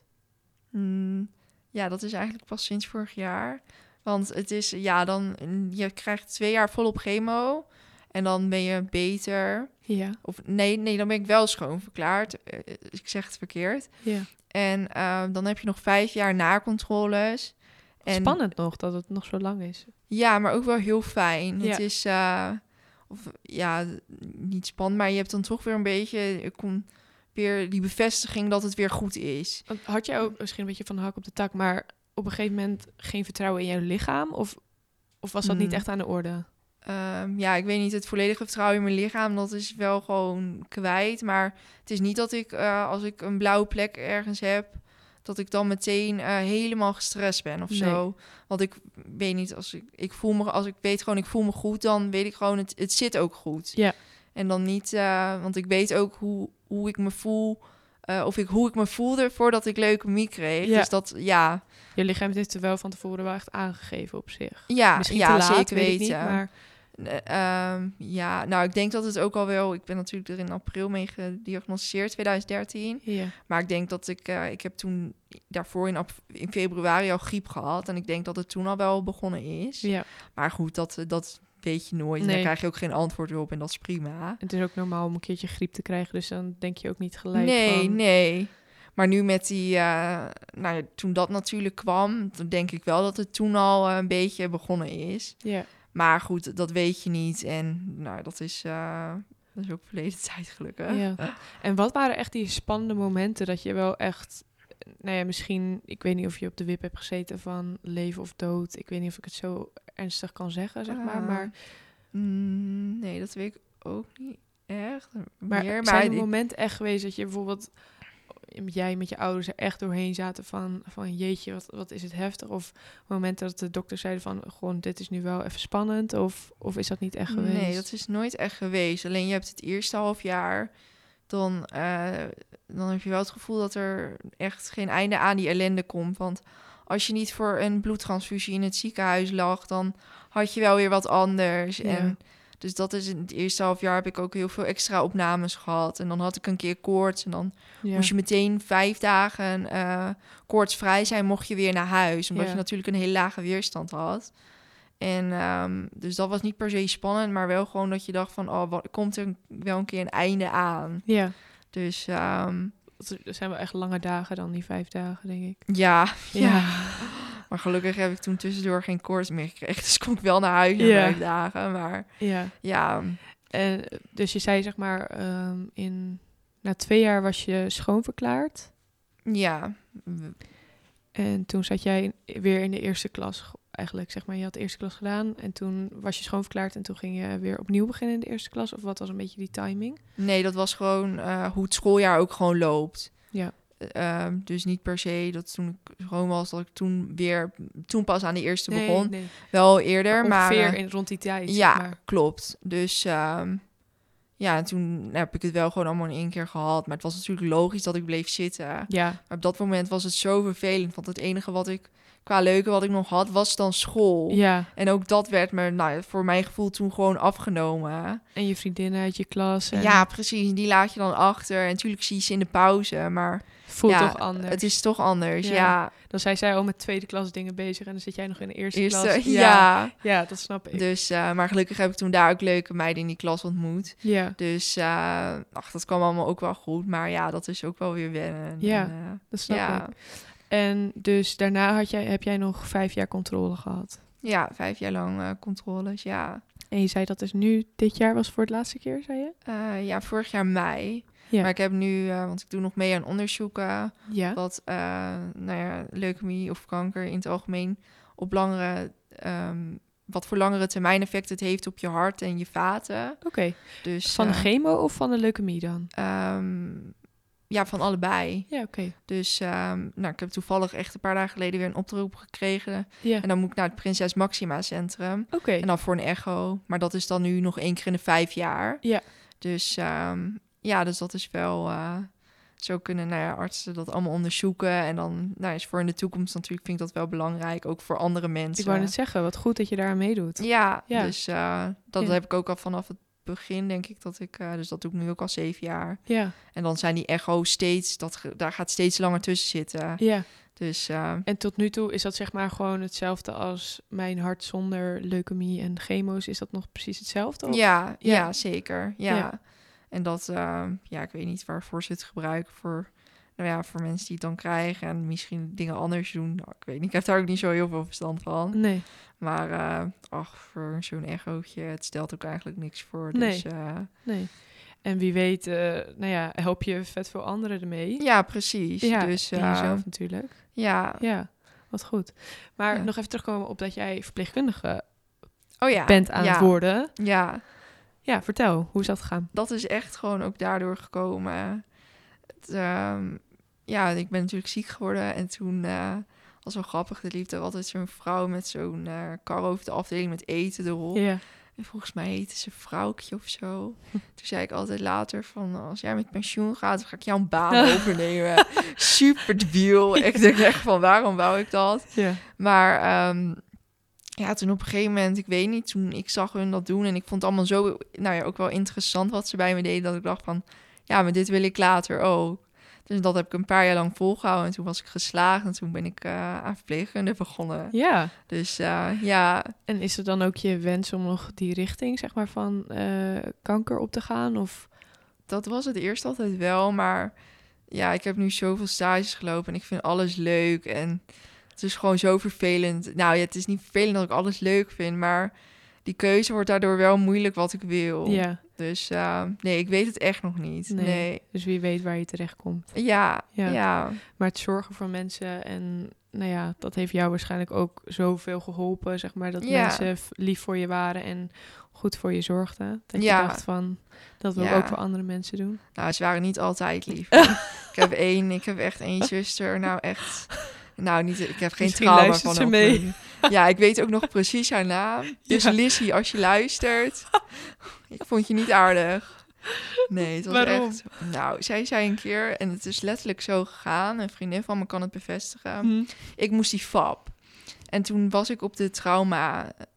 Speaker 2: Mm, ja, dat is eigenlijk pas sinds vorig jaar. Want het is, ja, dan, mm, je krijgt twee jaar volop chemo. En dan ben je beter.
Speaker 1: Ja.
Speaker 2: Of nee, nee, dan ben ik wel schoonverklaard. Eh, Ik zeg het verkeerd.
Speaker 1: ja.
Speaker 2: En eh, dan heb je nog vijf jaar nakontroles. En
Speaker 1: Spannend nog dat het nog zo lang is.
Speaker 2: Ja, maar ook wel heel fijn.
Speaker 1: Ja.
Speaker 2: Het is, eh, of, ja, niet spannend, maar je hebt dan toch weer een beetje, er komt weer die bevestiging dat het weer goed is.
Speaker 1: Want had jij ook misschien een beetje van de hak op de tak, maar op een gegeven moment geen vertrouwen in jouw lichaam? Of, of was dat
Speaker 2: Hmm.
Speaker 1: niet echt aan de orde?
Speaker 2: Ehm, ja, ik weet niet, het volledige vertrouwen in mijn lichaam, dat is wel gewoon kwijt. Maar het is niet dat ik, eh, als ik een blauwe plek ergens heb, dat ik dan meteen eh, helemaal gestrest ben of
Speaker 1: Nee.
Speaker 2: zo. Want ik weet niet, als ik, ik voel me, als ik weet gewoon, ik voel me goed, dan weet ik gewoon, het, het zit ook goed.
Speaker 1: Ja.
Speaker 2: En dan niet, eh, want ik weet ook hoe, hoe ik me voel, eh, of ik, hoe ik me voelde voordat ik leukemie kreeg.
Speaker 1: Ja.
Speaker 2: Dus dat, ja,
Speaker 1: Je lichaam heeft het wel van tevoren wel echt aangegeven op zich.
Speaker 2: ja,
Speaker 1: misschien
Speaker 2: ja
Speaker 1: te laat,
Speaker 2: zeker
Speaker 1: weet ik
Speaker 2: weten.
Speaker 1: niet, maar
Speaker 2: Eh, ehm, ja, nou, ik denk dat het ook al wel. Ik ben natuurlijk er in april mee gediagnosticeerd, 2013.
Speaker 1: ja.
Speaker 2: Maar ik denk dat ik. eh, ik heb toen daarvoor in, ap- in februari al griep gehad. En ik denk dat het toen al wel begonnen is.
Speaker 1: ja,
Speaker 2: Maar goed, dat, eh, dat weet je nooit. En
Speaker 1: Nee.
Speaker 2: daar krijg je ook geen antwoord op. En dat is prima.
Speaker 1: het is ook normaal om een keertje griep te krijgen, dus dan denk je ook niet gelijk
Speaker 2: nee,
Speaker 1: van...
Speaker 2: nee. Maar nu met die. eh, nou, ja, toen dat natuurlijk kwam. Dan denk ik wel dat het toen al eh, een beetje begonnen is.
Speaker 1: Ja.
Speaker 2: Maar goed, dat weet je niet. En nou, dat is, eh, dat is ook verleden <laughs> tijd gelukkig.
Speaker 1: Ja. En wat waren echt die spannende momenten dat je wel echt, nou ja, misschien, ik weet niet of je op de wip hebt gezeten van leven of dood. Ik weet niet of ik het zo ernstig kan zeggen, zeg maar.
Speaker 2: Ah,
Speaker 1: Maar,
Speaker 2: Mm, nee, dat weet ik ook niet echt.
Speaker 1: maar
Speaker 2: meer,
Speaker 1: zijn
Speaker 2: maar
Speaker 1: er
Speaker 2: ik-
Speaker 1: momenten echt geweest dat je bijvoorbeeld, jij met je ouders er echt doorheen zaten van, van jeetje, wat, wat is het heftig? Of momenten dat de dokter zeiden van, gewoon, dit is nu wel even spannend. Of, of is dat niet echt geweest?
Speaker 2: Nee, dat is nooit echt geweest. Alleen je hebt het eerste half jaar. Dan, eh, dan heb je wel het gevoel dat er echt geen einde aan die ellende komt. Want als je niet voor een bloedtransfusie in het ziekenhuis lag, dan had je wel weer wat anders.
Speaker 1: Ja.
Speaker 2: En dus dat is in het eerste half jaar heb ik ook heel veel extra opnames gehad. En dan had ik een keer koorts en dan
Speaker 1: Ja.
Speaker 2: moest je meteen vijf dagen eh, koortsvrij zijn, mocht je weer naar huis. Omdat
Speaker 1: Ja.
Speaker 2: je natuurlijk een hele lage weerstand had. En ehm, dus dat was niet per se spannend, maar wel gewoon dat je dacht van, oh, wat, komt er wel een keer een einde aan?
Speaker 1: ja.
Speaker 2: Dus ehm,
Speaker 1: Dat zijn wel echt lange dagen dan, die vijf dagen, denk ik.
Speaker 2: ja, <laughs> ja.
Speaker 1: Ja.
Speaker 2: Maar gelukkig heb ik toen tussendoor geen koorts meer gekregen. <laughs> Dus kon ik wel naar huis na
Speaker 1: Ja.
Speaker 2: vijf dagen. Maar
Speaker 1: ja.
Speaker 2: ja,
Speaker 1: En, eh, dus je zei zeg maar, ehm, in, na twee jaar was je schoonverklaard.
Speaker 2: ja.
Speaker 1: En toen zat jij in- weer in de eerste klas g- eigenlijk, zeg maar. Je had de eerste klas gedaan en toen was je schoonverklaard en toen ging je weer opnieuw beginnen in de eerste klas. Of wat was een beetje die timing?
Speaker 2: Nee, dat was gewoon eh, hoe het schooljaar ook gewoon loopt.
Speaker 1: Ja.
Speaker 2: Eh, ehm, dus niet per se dat toen ik gewoon was, dat ik toen weer, toen pas aan de eerste begon.
Speaker 1: nee.
Speaker 2: Wel eerder, maar...
Speaker 1: Ongeveer
Speaker 2: eh,
Speaker 1: in, rond die tijd,
Speaker 2: ja,
Speaker 1: zeg maar.
Speaker 2: klopt. Dus ehm, ja, en toen heb ik het wel gewoon allemaal in één keer gehad. Maar het was natuurlijk logisch dat ik bleef zitten.
Speaker 1: Ja,
Speaker 2: Maar op dat moment was het zo vervelend. Want het enige wat ik qua leuke wat ik nog had, was dan school.
Speaker 1: ja.
Speaker 2: En ook dat werd me nou, voor mijn gevoel toen gewoon afgenomen.
Speaker 1: En je vriendinnen uit je klas. En
Speaker 2: Ja, precies. Die laat je dan achter. En natuurlijk zie je ze in de pauze. Maar
Speaker 1: Voelt
Speaker 2: ja,
Speaker 1: toch anders.
Speaker 2: het is toch anders.
Speaker 1: Ja.
Speaker 2: Ja,
Speaker 1: Dan zijn zij al met tweede klas dingen bezig en dan zit jij nog in de eerste,
Speaker 2: Eerste,
Speaker 1: klas.
Speaker 2: eh, ja.
Speaker 1: Ja, dat snap ik.
Speaker 2: Dus, eh, maar gelukkig heb ik toen daar ook leuke meiden in die klas ontmoet.
Speaker 1: Ja,
Speaker 2: Dus eh, ach, dat kwam allemaal ook wel goed. Maar ja, dat is ook wel weer wennen.
Speaker 1: Ja,
Speaker 2: En, eh,
Speaker 1: dat snap
Speaker 2: ja.
Speaker 1: ik. En dus daarna had jij, heb jij nog vijf jaar controle gehad.
Speaker 2: ja, vijf jaar lang eh, controles. Ja.
Speaker 1: En je zei dat dus nu dit jaar was voor het laatste keer, zei je?
Speaker 2: Eh, ja, vorig jaar mei.
Speaker 1: Ja.
Speaker 2: Maar ik heb nu, eh, want ik doe nog mee aan onderzoeken.
Speaker 1: Ja.
Speaker 2: dat eh, nou ja, leukemie of kanker in het algemeen op langere, ehm, wat voor langere termijn effect het heeft op je hart en je vaten.
Speaker 1: Oké.
Speaker 2: Dus
Speaker 1: Van de
Speaker 2: eh,
Speaker 1: chemo of van de leukemie dan?
Speaker 2: ehm, ja, van allebei.
Speaker 1: Ja, oké.
Speaker 2: Dus ehm, nou, ik heb toevallig echt een paar dagen geleden weer een oproep gekregen.
Speaker 1: Ja.
Speaker 2: En dan moet ik naar het Prinses Maxima Centrum.
Speaker 1: Oké.
Speaker 2: En dan voor een echo. Maar dat is dan nu nog één keer in de vijf jaar.
Speaker 1: Ja.
Speaker 2: Dus ehm, ja, dus dat is wel. eh, zo kunnen nou ja, artsen dat allemaal onderzoeken. En dan nou, is voor in de toekomst natuurlijk vind ik dat wel belangrijk. Ook voor andere mensen.
Speaker 1: Ik wou net zeggen, wat goed dat je daar aan meedoet.
Speaker 2: eh, ja,
Speaker 1: Ja.
Speaker 2: dus eh, dat
Speaker 1: Ja.
Speaker 2: heb ik ook al vanaf het begin, denk ik, dat ik. eh, dus dat doe ik nu ook al zeven jaar.
Speaker 1: Ja,
Speaker 2: En dan zijn die echo's steeds. Dat, ge- daar gaat steeds langer tussen zitten.
Speaker 1: ja.
Speaker 2: Dus eh,
Speaker 1: En tot nu toe is dat zeg maar gewoon hetzelfde als mijn hart zonder leukemie en chemo's. Is dat nog precies hetzelfde? of-
Speaker 2: Ja,
Speaker 1: Ja.
Speaker 2: ja, zeker. Ja.
Speaker 1: Ja.
Speaker 2: En dat, eh, ja, ik weet niet waarvoor ze het gebruiken voor, nou ja, voor mensen die het dan krijgen en misschien dingen anders doen. Nou, ik weet niet, ik heb daar ook niet zo heel veel verstand van.
Speaker 1: Nee.
Speaker 2: Maar eh, ach, voor zo'n echootje, het stelt ook eigenlijk niks voor.
Speaker 1: Nee.
Speaker 2: Dus eh,
Speaker 1: Nee. En wie weet, eh, nou ja, help je vet veel anderen ermee.
Speaker 2: ja, precies. dus
Speaker 1: en
Speaker 2: eh,
Speaker 1: jezelf natuurlijk.
Speaker 2: ja.
Speaker 1: Ja, wat goed. Maar
Speaker 2: Ja.
Speaker 1: nog even terugkomen op dat jij verpleegkundige
Speaker 2: Oh ja.
Speaker 1: bent aan
Speaker 2: ja.
Speaker 1: het worden.
Speaker 2: Ja.
Speaker 1: Ja, vertel, hoe is dat gegaan?
Speaker 2: dat is echt gewoon ook daardoor gekomen. Het, ehm, ja, ik ben natuurlijk ziek geworden en toen eh was wel grappig. Er liep er altijd zo'n vrouw met zo'n eh, kar over de afdeling met eten erop.
Speaker 1: Ja.
Speaker 2: En volgens mij heette ze vrouwtje of zo. Toen zei ik altijd later van, als jij met pensioen gaat, dan ga ik jou een baan overnemen. Super debiel. Ik denk echt van, waarom wou ik dat?
Speaker 1: Ja.
Speaker 2: Maar ehm, ja, toen op een gegeven moment, ik weet niet, toen ik zag hun dat doen en ik vond het allemaal zo, nou ja, ook wel interessant wat ze bij me deden, dat ik dacht van, ja, maar dit wil ik later ook. Dus dat heb ik een paar jaar lang volgehouden en toen was ik geslaagd en toen ben ik eh, aan verpleegkunde begonnen.
Speaker 1: ja.
Speaker 2: Dus eh, ja,
Speaker 1: En is het dan ook je wens om nog die richting, zeg maar, van eh, kanker op te gaan? Of
Speaker 2: dat was het eerst altijd wel, maar ja, ik heb nu zoveel stages gelopen en ik vind alles leuk en het is gewoon zo vervelend. Nou ja, het is niet vervelend dat ik alles leuk vind, maar die keuze wordt daardoor wel moeilijk wat ik wil.
Speaker 1: ja,
Speaker 2: Dus eh, nee, ik weet het echt nog niet.
Speaker 1: Nee.
Speaker 2: Nee.
Speaker 1: dus wie weet waar je terecht komt.
Speaker 2: Ja,
Speaker 1: Ja.
Speaker 2: ja.
Speaker 1: Maar het zorgen voor mensen en nou ja, dat heeft jou waarschijnlijk ook zoveel geholpen, zeg maar, dat
Speaker 2: Ja.
Speaker 1: mensen f- lief voor je waren en goed voor je zorgden. Dat
Speaker 2: Ja.
Speaker 1: je dacht van, dat wil ik
Speaker 2: Ja.
Speaker 1: ook voor andere mensen doen.
Speaker 2: Nou, ze waren niet altijd
Speaker 1: <laughs>
Speaker 2: lief. ik heb één, ik heb echt één zuster. Nou, echt. Nou, niet, ik heb geen
Speaker 1: Misschien
Speaker 2: trauma
Speaker 1: luistert
Speaker 2: van
Speaker 1: ze
Speaker 2: haar
Speaker 1: mee.
Speaker 2: opgroeien. Ja, ik weet ook nog precies haar naam. Dus
Speaker 1: Ja.
Speaker 2: Lizzie, als je luistert, ik vond je niet aardig. Nee, het was
Speaker 1: Waarom?
Speaker 2: echt... Nou, zij zei een keer, en het is letterlijk zo gegaan... een vriendin van me kan het bevestigen...
Speaker 1: Hm.
Speaker 2: ik moest die fab. En toen was ik op de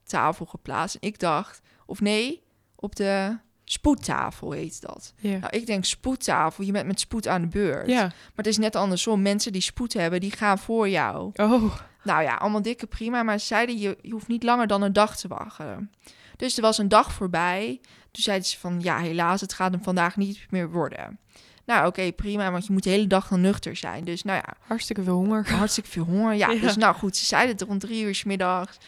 Speaker 2: traumatafel geplaatst. En ik dacht, of nee, op de spoedtafel heet dat.
Speaker 1: Ja.
Speaker 2: Nou, ik denk spoedtafel, je bent met spoed aan de beurt.
Speaker 1: Ja.
Speaker 2: Maar het is net andersom. Mensen die spoed hebben, die gaan voor jou.
Speaker 1: Oh.
Speaker 2: Nou ja, allemaal dikke prima. Maar ze zeiden, je, je hoeft niet langer dan een dag te wachten. Dus er was een dag voorbij. Toen zeiden ze van, ja helaas, het gaat hem vandaag niet meer worden. Nou oké, prima, want je moet de hele dag dan nuchter zijn. Dus nou ja,
Speaker 1: Hartstikke veel honger.
Speaker 2: hartstikke veel honger. Ja,
Speaker 1: Ja.
Speaker 2: dus nou goed, ze zeiden het rond drie uur 's middags.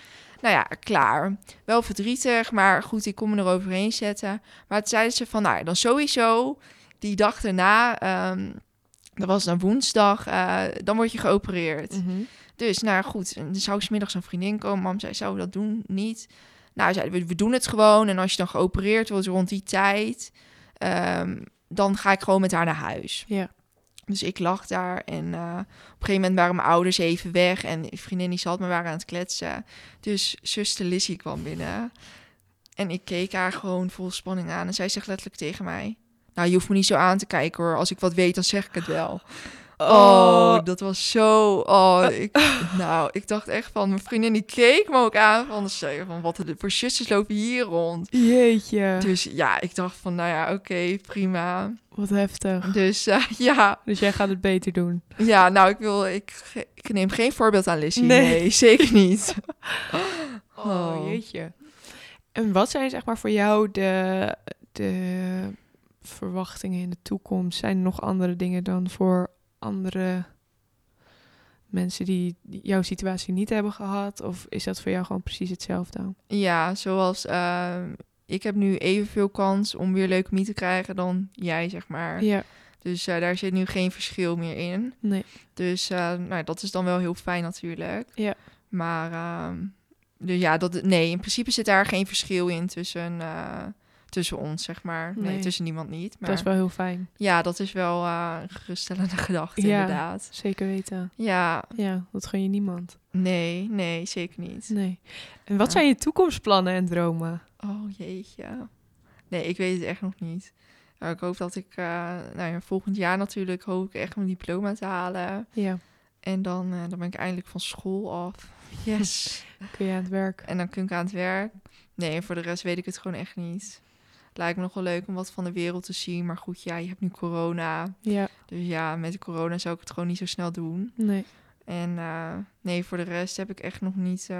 Speaker 2: Nou ja, klaar. Wel verdrietig, maar goed, ik kon me eroverheen zetten. Maar toen zeiden ze van, nou ja, dan sowieso die dag daarna, ehm, dat was dan woensdag, eh, dan word je geopereerd.
Speaker 1: Mhm.
Speaker 2: Dus nou ja, goed, en dan zou ik 's middags een vriendin komen. Mam zei, zou we dat doen? Niet. Nou, zeiden we, we doen het gewoon. En als je dan geopereerd wordt rond die tijd, ehm, dan ga ik gewoon met haar naar huis.
Speaker 1: Ja.
Speaker 2: Dus ik lag daar en eh, op een gegeven moment waren mijn ouders even weg. En die vriendin die zat me waren aan het kletsen. Dus zuster Lizzie kwam binnen. En ik keek haar gewoon vol spanning aan. En zij zegt letterlijk tegen mij... Nou, je hoeft me niet zo aan te kijken hoor. Als ik wat weet, dan zeg ik het wel. Oh, dat was zo. Oh, ik, nou, ik dacht echt van mijn vriendin die keek me ook aan van, ze- van wat er voor zusters lopen hier rond.
Speaker 1: Jeetje.
Speaker 2: Dus ja, ik dacht van, nou ja, oké, prima.
Speaker 1: Wat heftig.
Speaker 2: Dus eh, <laughs> ja,
Speaker 1: Dus jij gaat het beter doen.
Speaker 2: ja, nou, ik wil, ik, ge- ik neem geen voorbeeld aan Lissy.
Speaker 1: Nee.
Speaker 2: Nee. zeker niet. <laughs>
Speaker 1: Oh,
Speaker 2: Oh.
Speaker 1: jeetje. En wat zijn zeg maar voor jou de, de verwachtingen in de toekomst? Zijn er nog andere dingen dan voor andere mensen die die jouw situatie niet hebben gehad? Of is dat voor jou gewoon precies hetzelfde?
Speaker 2: Ja, zoals eh, ik heb nu evenveel kans om weer leukemie te krijgen dan jij, zeg maar.
Speaker 1: Ja.
Speaker 2: Dus eh, daar zit nu geen verschil meer in.
Speaker 1: Nee.
Speaker 2: Dus eh, nou, dat is dan wel heel fijn natuurlijk.
Speaker 1: Ja.
Speaker 2: Maar ehm, dus ja, dat, nee, in principe zit daar geen verschil in tussen, eh, tussen ons, zeg maar. Nee,
Speaker 1: Nee.
Speaker 2: tussen niemand niet. Maar
Speaker 1: Dat is wel heel fijn.
Speaker 2: ja, dat is wel eh, een geruststellende <laughs> gedachte
Speaker 1: Ja.
Speaker 2: inderdaad.
Speaker 1: Zeker weten.
Speaker 2: Ja,
Speaker 1: Ja, dat gun je niemand.
Speaker 2: nee, nee, zeker niet.
Speaker 1: Nee. En wat
Speaker 2: Ja.
Speaker 1: zijn je toekomstplannen en dromen?
Speaker 2: Oh jeetje. Nee, ik weet het echt nog niet. Nou, ik hoop dat ik, eh, nou ja, volgend jaar natuurlijk, hoop ik echt mijn diploma te halen.
Speaker 1: Ja,
Speaker 2: En dan, eh, dan ben ik eindelijk van school af. Yes.
Speaker 1: kun je aan het werk?
Speaker 2: <laughs> en dan kun ik aan het werk. Nee, en voor de rest weet ik het gewoon echt niet. Lijkt me nog wel leuk om wat van de wereld te zien. Maar goed, ja, je hebt nu corona.
Speaker 1: Ja,
Speaker 2: Dus ja, met de corona zou ik het gewoon niet zo snel doen.
Speaker 1: nee.
Speaker 2: En eh, nee, voor de rest heb ik echt nog niet eh,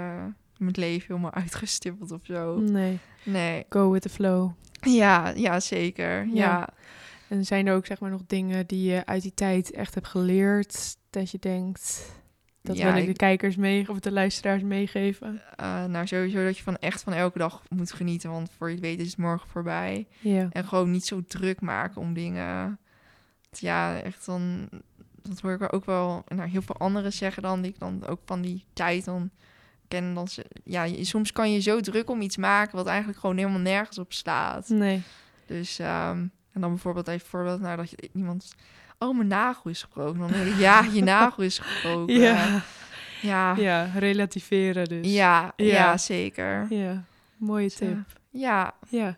Speaker 2: mijn leven helemaal <laughs> uitgestippeld of zo.
Speaker 1: Nee.
Speaker 2: Nee.
Speaker 1: Go with the flow.
Speaker 2: Ja, ja zeker.
Speaker 1: Ja.
Speaker 2: ja.
Speaker 1: En zijn er ook zeg maar nog dingen die je uit die tijd echt hebt geleerd? Dat je denkt, dat
Speaker 2: Ja,
Speaker 1: wil ik,
Speaker 2: ik-
Speaker 1: de kijkers mee of de luisteraars meegeven.
Speaker 2: Eh, nou, sowieso dat je van echt van elke dag moet genieten. Want voor je het weet is het morgen voorbij.
Speaker 1: Ja,
Speaker 2: En gewoon niet zo druk maken om dingen. Ja, echt dan. Dat hoor ik ook wel naar heel veel anderen zeggen dan. Die ik dan ook van die tijd dan ken. Dan ze, ja, je- soms kan je zo druk om iets maken wat eigenlijk gewoon helemaal nergens op slaat.
Speaker 1: nee.
Speaker 2: Dus, ehm, en dan bijvoorbeeld even voorbeeld naar dat je iemand... Oh, mijn nagel is gebroken. Dan denk ik, ja,
Speaker 1: <laughs>
Speaker 2: je nagel is gebroken.
Speaker 1: Ja,
Speaker 2: Ja, ja,
Speaker 1: <laughs> ja relativeren dus.
Speaker 2: ja,
Speaker 1: Ja.
Speaker 2: zeker.
Speaker 1: Ja, mooie
Speaker 2: Dus, eh,
Speaker 1: tip.
Speaker 2: Ja,
Speaker 1: Ja.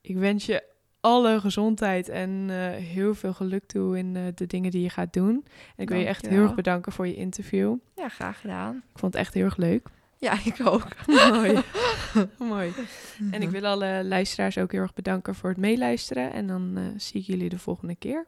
Speaker 1: Ik wens je alle gezondheid en eh, heel veel geluk toe in eh, de dingen die je gaat doen. En ik wil je echt heel
Speaker 2: Dankjewel.
Speaker 1: erg bedanken voor je interview.
Speaker 2: ja, graag gedaan.
Speaker 1: Ik vond het echt heel erg leuk.
Speaker 2: Ja, ik ook.
Speaker 1: <laughs> Mooi. <laughs> Mooi. En ik wil alle luisteraars ook heel erg bedanken voor het meeluisteren. En dan eh, zie ik jullie de volgende keer.